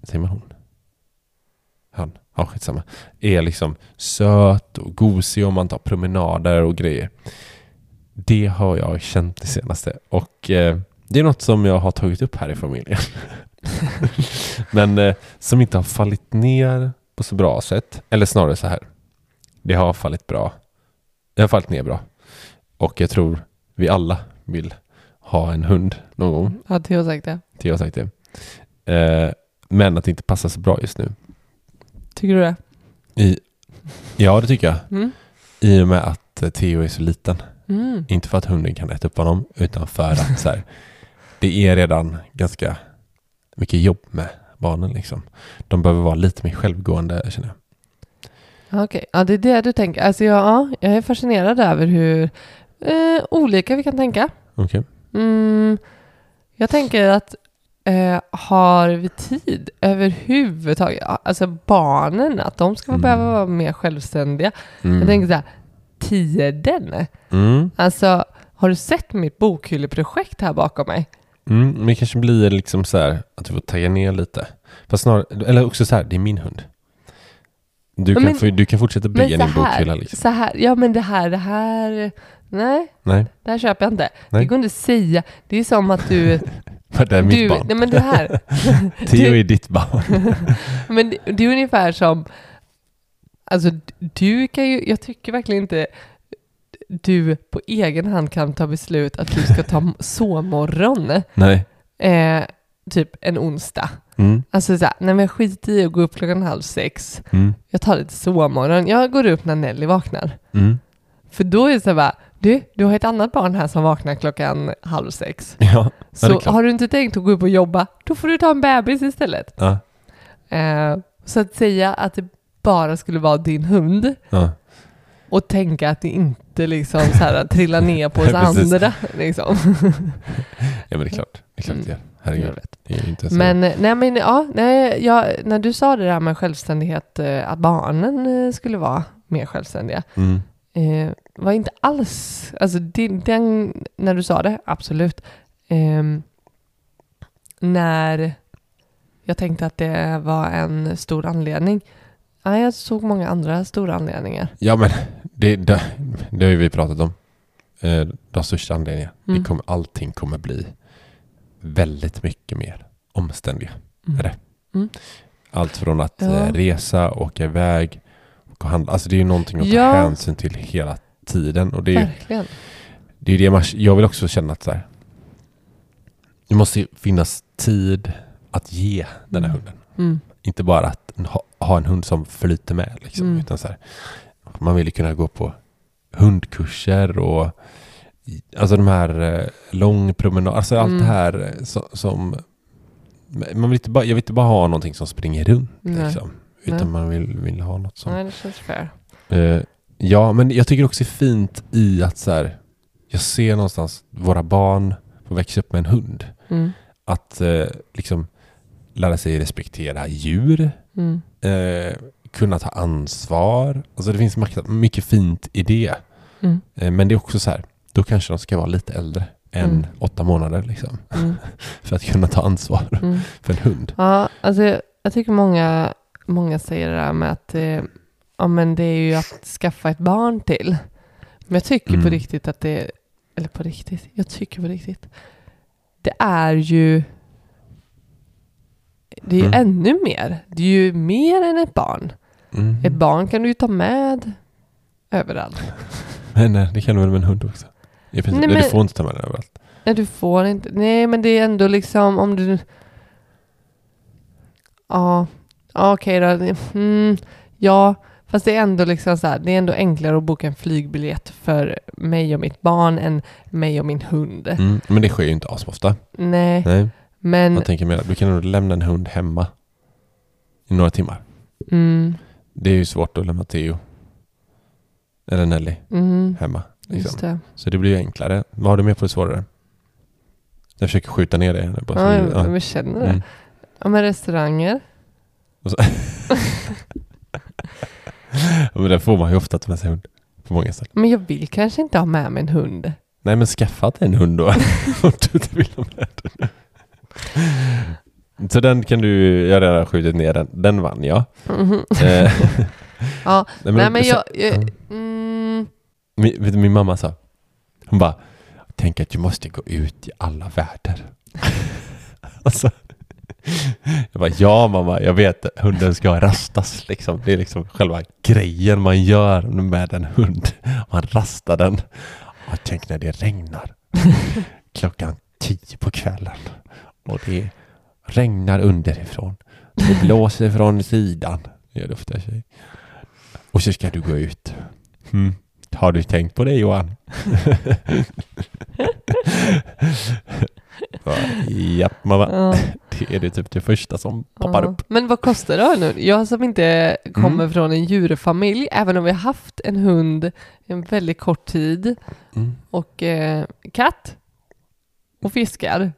[SPEAKER 3] säger man hon? Han, ja skitsamma. Är liksom söt och gosig om man tar promenader och grejer. Det har jag känt det senaste och eh, det är något som jag har tagit upp här i familjen. [laughs] Men eh, som inte har fallit ner på så bra sätt. Eller snarare så här. Det har fallit bra. Det har fallit ner bra. Och jag tror vi alla vill ha en hund någon gång.
[SPEAKER 4] Ja, Theo har sagt det.
[SPEAKER 3] Theo har sagt det. Eh, men att det inte passar så bra just nu.
[SPEAKER 4] Tycker du det?
[SPEAKER 3] I, ja, det tycker jag.
[SPEAKER 4] Mm.
[SPEAKER 3] I och med att eh, Theo är så liten.
[SPEAKER 4] Mm.
[SPEAKER 3] Inte för att hunden kan äta upp honom, utan för att så här, det är redan ganska mycket jobb med barnen. Liksom. De behöver vara lite mer självgående, känner jag.
[SPEAKER 4] Okej, ja, det är det du tänker. Alltså, jag, ja, jag är fascinerad över hur eh, olika vi kan tänka.
[SPEAKER 3] Okej.
[SPEAKER 4] Mm, jag tänker att eh, har vi tid överhuvudtaget? Ja, Alltså barnen, att de ska
[SPEAKER 3] Mm.
[SPEAKER 4] behöva vara mer självständiga. Jag tänker så här, tiden.
[SPEAKER 3] Mm.
[SPEAKER 4] Alltså, har du sett mitt bokhylleprojekt här bakom mig?
[SPEAKER 3] Mm. Men det kanske blir liksom så här att du får tagga ner lite. Fast snarare, eller också så här, det är min hund. Du,
[SPEAKER 4] Ja,
[SPEAKER 3] kan,
[SPEAKER 4] men-
[SPEAKER 3] få, du kan fortsätta
[SPEAKER 4] Men
[SPEAKER 3] bygga
[SPEAKER 4] så
[SPEAKER 3] din bokhylla.
[SPEAKER 4] här,
[SPEAKER 3] Liksom.
[SPEAKER 4] så här, ja men det här, det här, nej,
[SPEAKER 3] Nej,
[SPEAKER 4] det här köper jag inte.
[SPEAKER 3] Nej.
[SPEAKER 4] Det går inte att säga, det är som att du,
[SPEAKER 3] för det är mitt
[SPEAKER 4] du,
[SPEAKER 3] barn.
[SPEAKER 4] nej men det här,
[SPEAKER 3] [laughs] Theo
[SPEAKER 4] du-
[SPEAKER 3] är ditt barn.
[SPEAKER 4] Men det, det är ungefär som, alltså du kan ju, jag tycker verkligen inte du på egen hand kan ta beslut att du ska ta sovmorgon
[SPEAKER 3] [laughs] Nej.
[SPEAKER 4] eh, typ en onsdag.
[SPEAKER 3] Mm.
[SPEAKER 4] Alltså såhär, nej men jag skiter i att gå upp klockan halv sex.
[SPEAKER 3] Mm.
[SPEAKER 4] Jag tar lite sovmorgon. Jag går upp när Nelly vaknar.
[SPEAKER 3] Mm.
[SPEAKER 4] För då är det så bara, du, du har ett annat barn här som vaknar klockan halv sex.
[SPEAKER 3] Ja,
[SPEAKER 4] Så
[SPEAKER 3] det är klart.
[SPEAKER 4] har du inte tänkt att gå upp och jobba, då får du ta en bebis istället.
[SPEAKER 3] ja,
[SPEAKER 4] Eh, så att säga att det bara skulle vara din hund
[SPEAKER 3] ja.
[SPEAKER 4] och tänka att det inte liksom så här trillar ner på oss
[SPEAKER 3] Precis.
[SPEAKER 4] andra. Liksom.
[SPEAKER 3] ja, men det är klart. Det är klart det gör.
[SPEAKER 4] Mm. Jag
[SPEAKER 3] Herregud.
[SPEAKER 4] vet.
[SPEAKER 3] Det är ju inte så.
[SPEAKER 4] Men, eh, nej, men ja, nej, jag, när du sa det där med självständighet, eh, att barnen eh, skulle vara mer självständiga,
[SPEAKER 3] Mm.
[SPEAKER 4] eh, var inte alls, alltså din, den, när du sa det, absolut. Ehm, när jag tänkte att det var en stor anledning, nej, jag såg många andra stora anledningar.
[SPEAKER 3] Ja men det, det, det har ju vi pratat om. Eh, De största anledningarna.
[SPEAKER 4] Mm.
[SPEAKER 3] Det kommer, allting kommer bli väldigt mycket mer omständiga.
[SPEAKER 4] Mm.
[SPEAKER 3] Är det?
[SPEAKER 4] Mm.
[SPEAKER 3] Allt från att
[SPEAKER 4] Ja.
[SPEAKER 3] eh, resa, åka iväg, och handla. Alltså det är ju någonting att ta
[SPEAKER 4] Ja.
[SPEAKER 3] hänsyn till hela tiden. Och det är ju
[SPEAKER 4] Verkligen.
[SPEAKER 3] det, är ju det man, jag vill också känna att så här, det måste ju finnas tid att ge den här hunden.
[SPEAKER 4] Mm.
[SPEAKER 3] Inte bara att ha, ha en hund som flyter med. Liksom,
[SPEAKER 4] Mm.
[SPEAKER 3] utan så här, man vill ju kunna gå på hundkurser och i- alltså de här eh, lång promenad, alltså allt
[SPEAKER 4] Mm.
[SPEAKER 3] det här eh, så, som... men Man vill inte bara, jag vill inte bara ha någonting som springer runt.
[SPEAKER 4] Nej.
[SPEAKER 3] Liksom, utan
[SPEAKER 4] Nej.
[SPEAKER 3] man vill, vill ha något som...
[SPEAKER 4] Nej, det känns fair.
[SPEAKER 3] Eh, ja, men jag tycker också det är fint i att så här, jag ser någonstans våra barn få växa upp med en hund.
[SPEAKER 4] Mm.
[SPEAKER 3] Att eh, liksom lära sig respektera djur
[SPEAKER 4] Mm.
[SPEAKER 3] eh, kunna ta ansvar. Alltså det finns makt- mycket fint i det.
[SPEAKER 4] Mm.
[SPEAKER 3] Eh, men det är också så här, då kanske de ska vara lite äldre än
[SPEAKER 4] Mm.
[SPEAKER 3] åtta månader liksom.
[SPEAKER 4] Mm.
[SPEAKER 3] För att kunna ta ansvar
[SPEAKER 4] Mm.
[SPEAKER 3] för en hund.
[SPEAKER 4] Ja, alltså jag, jag tycker många, många säger det där med att eh, ja, men det är ju att skaffa ett barn till. Men jag tycker på
[SPEAKER 3] Mm.
[SPEAKER 4] riktigt att det, eller på riktigt, jag tycker på riktigt. Det är ju, det är ju
[SPEAKER 3] Mm.
[SPEAKER 4] ännu mer. Det är ju mer än ett barn.
[SPEAKER 3] Mm.
[SPEAKER 4] Ett barn kan du ju ta med överallt.
[SPEAKER 3] Men eh, det kan du väl med en hund också? I princip, Nej,
[SPEAKER 4] Nej,
[SPEAKER 3] Du
[SPEAKER 4] men-
[SPEAKER 3] får inte ta med den överallt.
[SPEAKER 4] Nej, du får inte. Nej, men det är ändå liksom om du... Ja, ja okej då. Mm, ja, fast det är ändå liksom så här, det är ändå enklare att boka en flygbiljett för mig och mitt barn än mig och min hund.
[SPEAKER 3] Mm. Men det sker ju inte asofta.
[SPEAKER 4] Nej,
[SPEAKER 3] Nej,
[SPEAKER 4] men...
[SPEAKER 3] jag tänker mer att du kan nog lämna en hund hemma i några timmar.
[SPEAKER 4] Mm,
[SPEAKER 3] Det är ju svårt att lämna Theo eller Nelly
[SPEAKER 4] mm,
[SPEAKER 3] hemma. Liksom.
[SPEAKER 4] just det.
[SPEAKER 3] Så det blir ju enklare. Vad har du mer på det svårare? Jag försöker skjuta ner dig. här nu bara
[SPEAKER 4] Ja,
[SPEAKER 3] för-
[SPEAKER 4] jag,
[SPEAKER 3] ja.
[SPEAKER 4] jag känner det.
[SPEAKER 3] Mm.
[SPEAKER 4] Ja, men restauranger.
[SPEAKER 3] Ja, Men där får man ju ofta ta med sig hund. På många ställen.
[SPEAKER 4] Men jag vill kanske inte ha med mig
[SPEAKER 3] [laughs]
[SPEAKER 4] en hund.
[SPEAKER 3] Nej men skaffa dig en hund då. [laughs] om du inte vill ha med den. Så den kan du, jag har redan skjutit ner den. Den vann jag.
[SPEAKER 4] Mhm.
[SPEAKER 3] Eh, [laughs]
[SPEAKER 4] Ja,
[SPEAKER 3] nej,
[SPEAKER 4] Nej, men
[SPEAKER 3] så-
[SPEAKER 4] jag... jag
[SPEAKER 3] Mm.
[SPEAKER 4] mm,
[SPEAKER 3] Min, vet du, min mamma sa, hon bara, tänk att du måste gå ut i alla väder. [laughs] alltså, jag bara, ja mamma, jag vet, hunden ska rastas liksom. Det är liksom själva grejen man gör med en hund. Man rastar den. Och tänk när det regnar. Klockan tio på kvällen. Och det regnar underifrån. Det blåser från sidan. Det gör det ofta i och för sig. Och så ska du gå ut. Mm. Har du tänkt på det Johan? [laughs] Ja, Japp mamma.
[SPEAKER 4] ja.
[SPEAKER 3] Det är det typ det första som poppar
[SPEAKER 4] Ja.
[SPEAKER 3] upp. Mm.
[SPEAKER 4] Men vad kostar det nu? Jag som inte kommer från en djurfamilj, även om vi har haft en hund en väldigt kort tid
[SPEAKER 3] Mm.
[SPEAKER 4] och eh, katt och
[SPEAKER 3] Mm.
[SPEAKER 4] fiskar.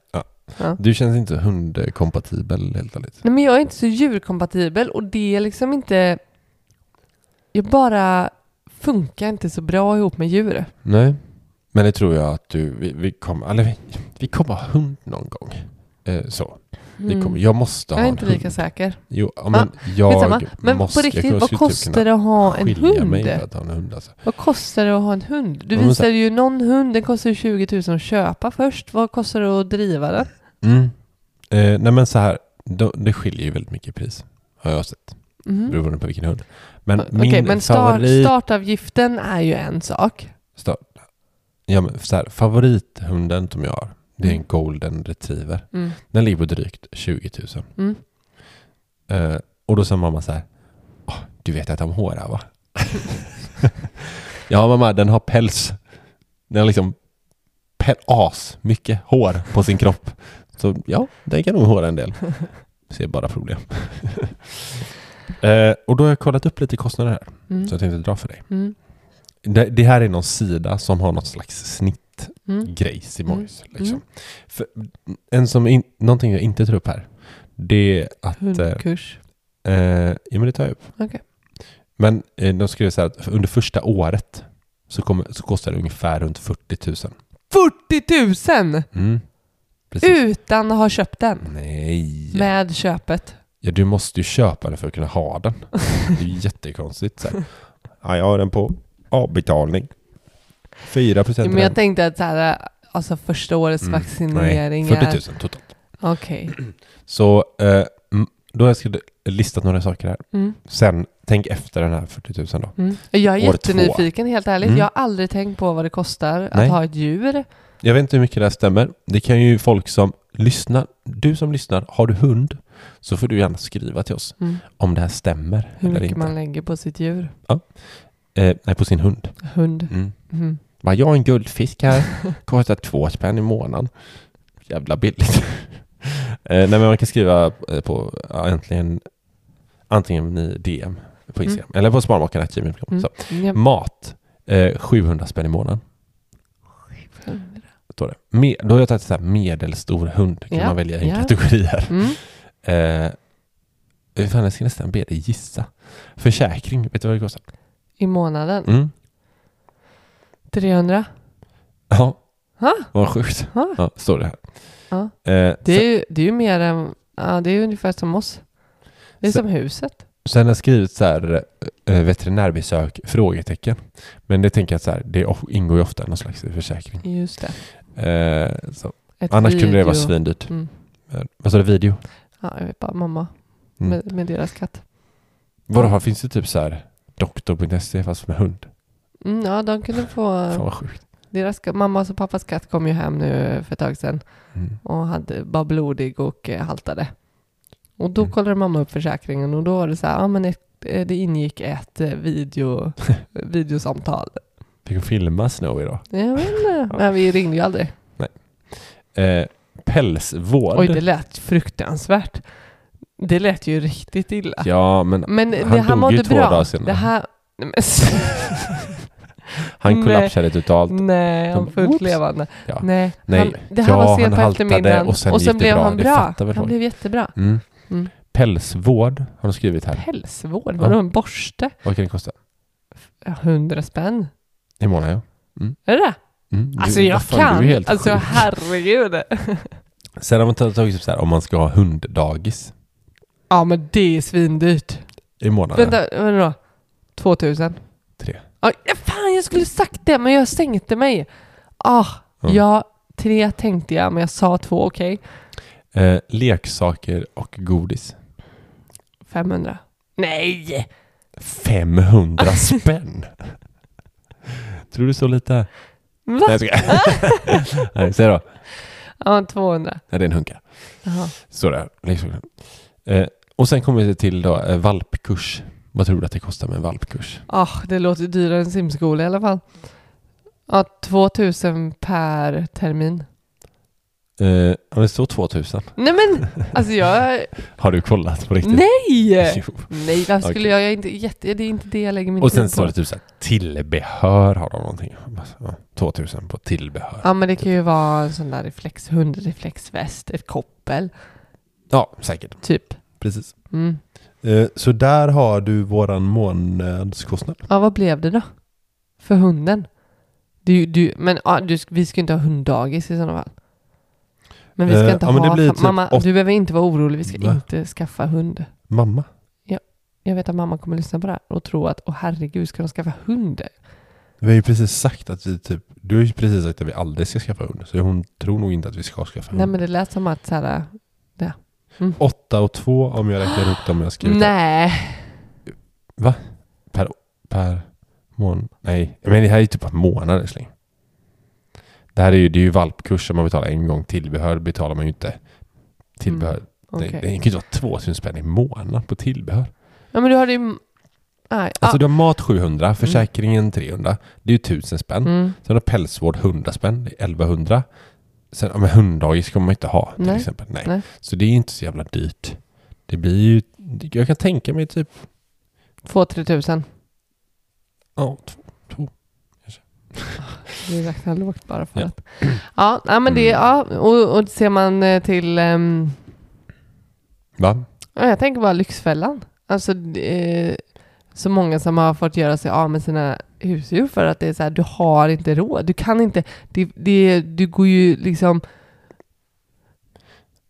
[SPEAKER 3] Du känns inte hundkompatibel helt ärligt.
[SPEAKER 4] Nej, men jag är inte så djurkompatibel och det är liksom inte... Jag bara funkar inte så bra ihop med djur.
[SPEAKER 3] Nej. Men det tror jag att du, vi, vi kommer, eller vi, vi kommer ha hund någon gång. Eh, så. Vi kommer, jag måste ha
[SPEAKER 4] Mm. jag är
[SPEAKER 3] en
[SPEAKER 4] inte
[SPEAKER 3] hund.
[SPEAKER 4] lika säker.
[SPEAKER 3] Jo, ja, men
[SPEAKER 4] Skitsamma.
[SPEAKER 3] jag
[SPEAKER 4] Men
[SPEAKER 3] måste,
[SPEAKER 4] på riktigt,
[SPEAKER 3] jag
[SPEAKER 4] vad
[SPEAKER 3] skulle typ
[SPEAKER 4] kostar
[SPEAKER 3] kunna
[SPEAKER 4] det att ha en
[SPEAKER 3] skilja
[SPEAKER 4] hund?
[SPEAKER 3] mig för att ha en hund alltså.
[SPEAKER 4] Vad kostar det att ha en hund? Du
[SPEAKER 3] Ja, men så-
[SPEAKER 4] visade ju någon hund, den kostar ju 20 000 att köpa först. Vad kostar det att driva den?
[SPEAKER 3] Mm. Eh, nej men så här, då, det skiljer ju väldigt mycket i pris. Har jag sett.
[SPEAKER 4] Mhm.
[SPEAKER 3] Beroende på vilken hund. Men
[SPEAKER 4] Okej,
[SPEAKER 3] min
[SPEAKER 4] men start,
[SPEAKER 3] favorit...
[SPEAKER 4] startavgiften är ju en sak.
[SPEAKER 3] Stör. Ja, men så här, favorithunden som jag har, det är en golden retriever.
[SPEAKER 4] Mm.
[SPEAKER 3] Den ligger på drygt 20 000.
[SPEAKER 4] Mm.
[SPEAKER 3] Eh, och då sa mamma så här, "Ah, du vet att de hårar va? [laughs] ja mamma, den har päls. Den har liksom päl- as, mycket hår på sin kropp. Så ja, den kan nog håra en del. Ser bara problem. [laughs] eh, och då har jag kollat upp lite kostnader här,
[SPEAKER 4] Mm.
[SPEAKER 3] så jag tänkte dra för dig.
[SPEAKER 4] Mm.
[SPEAKER 3] Det, det här är någon sida som har något slags
[SPEAKER 4] Mm.
[SPEAKER 3] snittgrejs i
[SPEAKER 4] Mm.
[SPEAKER 3] mojs. Liksom.
[SPEAKER 4] Mm.
[SPEAKER 3] För, en som in, någonting jag inte tar upp här, det är att... eh,
[SPEAKER 4] Hundkurs.
[SPEAKER 3] Eh, ja, men det tar jag upp.
[SPEAKER 4] Okej.
[SPEAKER 3] Men eh, de skrev så här att under första året så, kommer, så kostar det ungefär runt 40 000.
[SPEAKER 4] 40 000!
[SPEAKER 3] Mm. Precis.
[SPEAKER 4] Utan att ha köpt den.
[SPEAKER 3] Nej.
[SPEAKER 4] Med köpet.
[SPEAKER 3] Ja, du måste ju köpa den för att kunna ha
[SPEAKER 4] [laughs]
[SPEAKER 3] den. Det är ju jättekonstigt. Så här. Ja, jag har den på avbetalning. 4 procent.
[SPEAKER 4] Men jag tänkte att så här, alltså första årets vaccinering
[SPEAKER 3] Mm, Nej, 40
[SPEAKER 4] är...
[SPEAKER 3] 000 totalt.
[SPEAKER 4] Okej.
[SPEAKER 3] Så eh, m- då har jag skrivit- listat några saker här.
[SPEAKER 4] Mm.
[SPEAKER 3] Sen, tänk efter den här 40 000 då.
[SPEAKER 4] Mm. Jag är
[SPEAKER 3] År
[SPEAKER 4] jättenyfiken, helt ärligt.
[SPEAKER 3] Mm.
[SPEAKER 4] Jag har aldrig tänkt på vad det kostar
[SPEAKER 3] Nej.
[SPEAKER 4] att ha ett djur.
[SPEAKER 3] Jag vet inte hur mycket det här stämmer. Det kan ju folk som lyssnar, du som lyssnar, har du hund så får du gärna skriva till oss
[SPEAKER 4] Mm.
[SPEAKER 3] om det här stämmer
[SPEAKER 4] Hur
[SPEAKER 3] eller
[SPEAKER 4] mycket
[SPEAKER 3] inte.
[SPEAKER 4] man lägger på sitt djur.
[SPEAKER 3] Eh, nej, på sin hund.
[SPEAKER 4] Hund.
[SPEAKER 3] Mm.
[SPEAKER 4] Mm.
[SPEAKER 3] Bara, jag har en guldfisk här, kostar två spänn i månaden. Jävla billigt. [laughs] eh, nej, men man kan skriva eh, på ja, äntligen, antingen i DM på Instagram eller på sparmakarna.gmail.com.
[SPEAKER 4] Mm.
[SPEAKER 3] Så.
[SPEAKER 4] Ja.
[SPEAKER 3] Mat, eh, 700 spänn i månaden. Står det. Me- då har jag tagit så här medelstor hund, kan
[SPEAKER 4] Ja,
[SPEAKER 3] man välja en
[SPEAKER 4] ja.
[SPEAKER 3] kategori här.
[SPEAKER 4] Mm.
[SPEAKER 3] Eh, fan, jag ska nästan be dig gissa. Försäkring, vet du vad det kostar?
[SPEAKER 4] I månaden.
[SPEAKER 3] Mm.
[SPEAKER 4] 300.
[SPEAKER 3] Ja.
[SPEAKER 4] Ha?
[SPEAKER 3] Vad sjukt.
[SPEAKER 4] Ha?
[SPEAKER 3] Ja, står det här.
[SPEAKER 4] Ja.
[SPEAKER 3] Eh,
[SPEAKER 4] Det är, ju, det är ju mer än, ja det är ju ungefär som oss. Det är
[SPEAKER 3] Så-
[SPEAKER 4] som huset.
[SPEAKER 3] Sen har jag skrivit så här, eh, veterinärbesök? Frågetecken. Men det tänker jag att så här, det o- ingår ju ofta i någon slags försäkring.
[SPEAKER 4] Just det.
[SPEAKER 3] Eh, så.
[SPEAKER 4] Ett
[SPEAKER 3] Annars kunde det vara
[SPEAKER 4] video.
[SPEAKER 3] svindyrt.
[SPEAKER 4] Mm.
[SPEAKER 3] Men- Vad sa du, video?
[SPEAKER 4] Ja, jag vet bara mamma.
[SPEAKER 3] Mm.
[SPEAKER 4] Med, med deras katt.
[SPEAKER 3] Vadå, finns det typ så här doktor.se fast med hund?
[SPEAKER 4] Mm, ja, de kunde få...
[SPEAKER 3] Fan vad sjukt.
[SPEAKER 4] Deras mammas och pappas katt kom ju hem nu för ett tag sedan
[SPEAKER 3] Mm.
[SPEAKER 4] och hade, var blodig och eh, haltade. Och då
[SPEAKER 3] Mm.
[SPEAKER 4] kollade mamma upp försäkringen och då var det så här, ja men ett, eh, det ingick ett
[SPEAKER 3] [laughs]
[SPEAKER 4] eh, video, videosamtal.
[SPEAKER 3] Fick hon filma Snowy då?
[SPEAKER 4] Jag vet inte. Nej, vi ringde ju aldrig.
[SPEAKER 3] Eh, pälsvård.
[SPEAKER 4] Oj, det lät fruktansvärt. Det lät ju riktigt illa.
[SPEAKER 3] Ja, men
[SPEAKER 4] Men
[SPEAKER 3] Han
[SPEAKER 4] det, han
[SPEAKER 3] dog ju
[SPEAKER 4] mådde
[SPEAKER 3] två
[SPEAKER 4] bra.
[SPEAKER 3] dagar senare.
[SPEAKER 4] Det här... Nej, men,
[SPEAKER 3] han
[SPEAKER 4] nej.
[SPEAKER 3] kollapsade totalt.
[SPEAKER 4] [laughs] nej han
[SPEAKER 3] De-
[SPEAKER 4] var fullt
[SPEAKER 3] Whoops.
[SPEAKER 4] levande.
[SPEAKER 3] Ja.
[SPEAKER 4] Nej,
[SPEAKER 3] Nej.
[SPEAKER 4] Han, det här
[SPEAKER 3] Ja,
[SPEAKER 4] var
[SPEAKER 3] han
[SPEAKER 4] sent på
[SPEAKER 3] haltade
[SPEAKER 4] eftermiddagen
[SPEAKER 3] och sen gick det
[SPEAKER 4] blev
[SPEAKER 3] bra.
[SPEAKER 4] han
[SPEAKER 3] Det
[SPEAKER 4] bra.
[SPEAKER 3] fattar väl
[SPEAKER 4] han
[SPEAKER 3] folk.
[SPEAKER 4] blev jättebra.
[SPEAKER 3] Mm.
[SPEAKER 4] Mm.
[SPEAKER 3] Pälsvård har de skrivit här.
[SPEAKER 4] Pälsvård,
[SPEAKER 3] Ja.
[SPEAKER 4] vadå en borste?
[SPEAKER 3] Vad kan det kosta?
[SPEAKER 4] Ja, Hundra spänn?
[SPEAKER 3] I månaden ja.
[SPEAKER 4] Är det det
[SPEAKER 3] Mm. Du-
[SPEAKER 4] Alltså
[SPEAKER 3] vad
[SPEAKER 4] jag
[SPEAKER 3] fan, du är
[SPEAKER 4] kan!
[SPEAKER 3] ju helt
[SPEAKER 4] alltså
[SPEAKER 3] sjuk. [laughs]
[SPEAKER 4] herregud.
[SPEAKER 3] Sen har man tagit tagit upp så här, om man ska ha hunddagis
[SPEAKER 4] Ja men det är svindyrt.
[SPEAKER 3] i månaden.
[SPEAKER 4] Vänta, vänta då. 2000?
[SPEAKER 3] Tre.
[SPEAKER 4] Ja, fan jag skulle sagt det men jag sänkte mig. Ah,
[SPEAKER 3] Ja.
[SPEAKER 4] ja, tre tänkte jag men jag sa två, okej.
[SPEAKER 3] Eh, leksaker och godis.
[SPEAKER 4] 500. Nej! [laughs]
[SPEAKER 3] 500 spänn! Tror du så lite? Va? Nej, jag
[SPEAKER 4] [laughs]
[SPEAKER 3] skojar. Nej, säg då.
[SPEAKER 4] Ja, 200.
[SPEAKER 3] Nej, det är en hunka.
[SPEAKER 4] Jaha.
[SPEAKER 3] Står det här. leksaker. Eh, och sen kommer vi till då, eh, valpkurs. Vad tror du att det kostar med en valpkurs?
[SPEAKER 4] Ah, det låter dyrare än simskola i alla fall. Ja, 2000 per termin.
[SPEAKER 3] Eh, ja, det står 2000.
[SPEAKER 4] Nej
[SPEAKER 3] [laughs]
[SPEAKER 4] men, alltså jag...
[SPEAKER 3] Har du kollat på riktigt?
[SPEAKER 4] Nej!
[SPEAKER 3] Jo.
[SPEAKER 4] Nej, varför skulle
[SPEAKER 3] Okej.
[SPEAKER 4] jag? jag är inte, jätte, det är inte det jag lägger min
[SPEAKER 3] Och
[SPEAKER 4] tid
[SPEAKER 3] sen
[SPEAKER 4] på.
[SPEAKER 3] står det typ så här, tillbehör har de någonting. Ja, 2000 på tillbehör.
[SPEAKER 4] Ja, men det kan ju vara en sån där reflex, hundreflexväst, ett koppel,
[SPEAKER 3] Ja, säkert.
[SPEAKER 4] typ.
[SPEAKER 3] Precis.
[SPEAKER 4] Mm.
[SPEAKER 3] Eh, Så där har du våran månadskostnad.
[SPEAKER 4] Ja, vad blev det då? För hunden? Du, du, men ja, du, sk- vi ska ju inte ha hunddagis i sådana fall. Men vi ska
[SPEAKER 3] Eh,
[SPEAKER 4] inte
[SPEAKER 3] ja, men
[SPEAKER 4] ha...
[SPEAKER 3] det blir
[SPEAKER 4] fa-
[SPEAKER 3] typ
[SPEAKER 4] mamma,
[SPEAKER 3] åt-
[SPEAKER 4] du behöver inte vara orolig. Vi ska
[SPEAKER 3] Va?
[SPEAKER 4] inte skaffa hund.
[SPEAKER 3] Mamma.
[SPEAKER 4] Jag vet att mamma kommer lyssna på det här och tro att, åh herregud, ska de skaffa hund?
[SPEAKER 3] Vi har ju precis sagt att vi typ, du har ju precis sagt att vi aldrig ska skaffa hund. Så hon tror nog inte att vi ska skaffa hund.
[SPEAKER 4] Nej, men det lät som att så här,
[SPEAKER 3] Åtta och två om jag räknar ihop dem jag har skrivit här.
[SPEAKER 4] nej.
[SPEAKER 3] per, per månad. Nej, men det här är ju typ en månad älskling. Det här är ju, det är ju valpkurs som man betalar en gång. Tillbehör betalar man ju inte. Tillbehör.
[SPEAKER 4] Mm, Okej.
[SPEAKER 3] Det, det kan ju inte vara 2000 spänn i månaden på tillbehör.
[SPEAKER 4] Ja, men du har ju... Nej.
[SPEAKER 3] Alltså
[SPEAKER 4] ah,
[SPEAKER 3] du har mat 700, försäkringen 300. Det är ju 1000 spänn.
[SPEAKER 4] mm.
[SPEAKER 3] Sen har pälsvård 100 spänn, det är 1100. Sen, ja, men hunddagis kommer man inte ha till
[SPEAKER 4] Nej.
[SPEAKER 3] exempel. Nej.
[SPEAKER 4] Nej.
[SPEAKER 3] Så det är inte så jävla dyrt. Det blir ju, jag kan tänka mig typ,
[SPEAKER 4] Två-tre tusen.
[SPEAKER 3] ja, två, två.
[SPEAKER 4] Vi räknar lågt bara för
[SPEAKER 3] Ja.
[SPEAKER 4] att. Ja, nej, men det,
[SPEAKER 3] Mm.
[SPEAKER 4] ja och, och ser man eh, till, ehm,
[SPEAKER 3] Va?
[SPEAKER 4] ja, jag tänker bara Lyxfällan. Alltså eh, så många som har fått göra sig av med sina husdjur för att det är så här, du har inte råd. Du kan inte, det, det, du går ju liksom,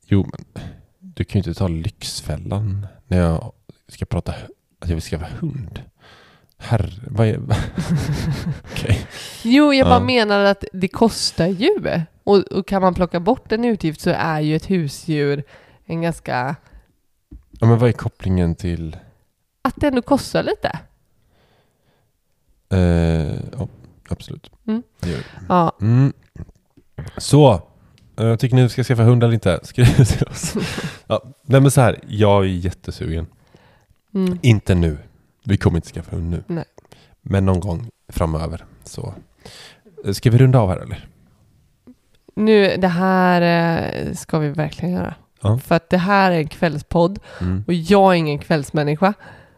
[SPEAKER 3] Jo, men du kan ju inte ta Lyxfällan när jag ska prata, hu- att jag vill skaffa hund. Herre, vad är, [laughs] okej.
[SPEAKER 4] jo jag
[SPEAKER 3] Ja.
[SPEAKER 4] bara menar att det kostar ju. Och, och kan man plocka bort en utgift så är ju ett husdjur en ganska,
[SPEAKER 3] Ja, men vad är kopplingen till,
[SPEAKER 4] att det ändå kostar lite.
[SPEAKER 3] eh, ja, absolut.
[SPEAKER 4] Mm.
[SPEAKER 3] Det gör det.
[SPEAKER 4] Ja,
[SPEAKER 3] Mm. Så. eh, Tycker ni vi ska skaffa hund eller inte? Skriv till oss. Ja, nej men så här, jag är jättesugen.
[SPEAKER 4] mm.
[SPEAKER 3] Inte nu. Vi kommer inte skaffa hund nu.
[SPEAKER 4] Nej.
[SPEAKER 3] Men någon gång framöver. Så. Eh, Ska vi runda av här eller?
[SPEAKER 4] Nu, det här eh, ska vi verkligen göra.
[SPEAKER 3] Ja.
[SPEAKER 4] För att det här är en kvällspodd
[SPEAKER 3] Mm.
[SPEAKER 4] och jag är ingen kvällsmänniska.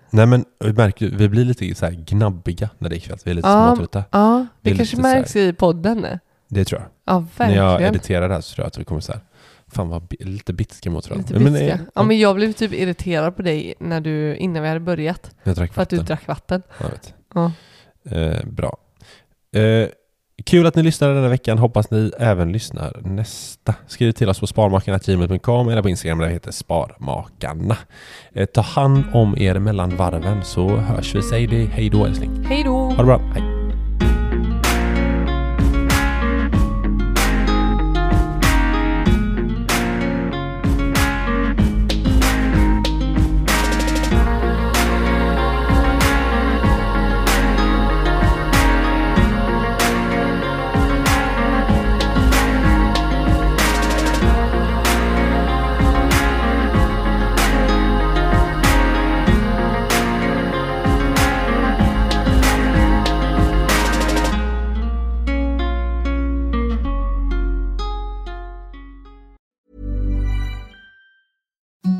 [SPEAKER 3] Nej men vi märker ju, vi blir lite så här gnabbiga när det är kväll. Vi är lite
[SPEAKER 4] Ja.
[SPEAKER 3] småtrötta.
[SPEAKER 4] Ja,
[SPEAKER 3] Det
[SPEAKER 4] det,
[SPEAKER 3] är
[SPEAKER 4] kanske
[SPEAKER 3] lite så
[SPEAKER 4] märks i podden. nu.
[SPEAKER 3] Det tror jag.
[SPEAKER 4] Ja,
[SPEAKER 3] När jag
[SPEAKER 4] verkligen.
[SPEAKER 3] editerar det här så tror jag att vi kommer så här. Fan vad bi- lite bitska mot varandra.
[SPEAKER 4] Lite
[SPEAKER 3] Nej, men,
[SPEAKER 4] bitska.
[SPEAKER 3] eh,
[SPEAKER 4] ja, men jag blev typ irriterad på dig när du, innan vi hade börjat.
[SPEAKER 3] Jag drack
[SPEAKER 4] För att du
[SPEAKER 3] vatten.
[SPEAKER 4] drack vatten.
[SPEAKER 3] Jag vet.
[SPEAKER 4] Ja.
[SPEAKER 3] Eh, bra. Eh, kul att ni lyssnade denna veckan. Hoppas ni även lyssnar nästa. Skriv till oss på sparmakarna.gmail.com eller på Instagram där det heter Sparmakarna. Eh, ta hand om er mellan varven så hörs vi. Säg det hej då älskling.
[SPEAKER 4] Hej då!
[SPEAKER 3] Ha det bra. Hej.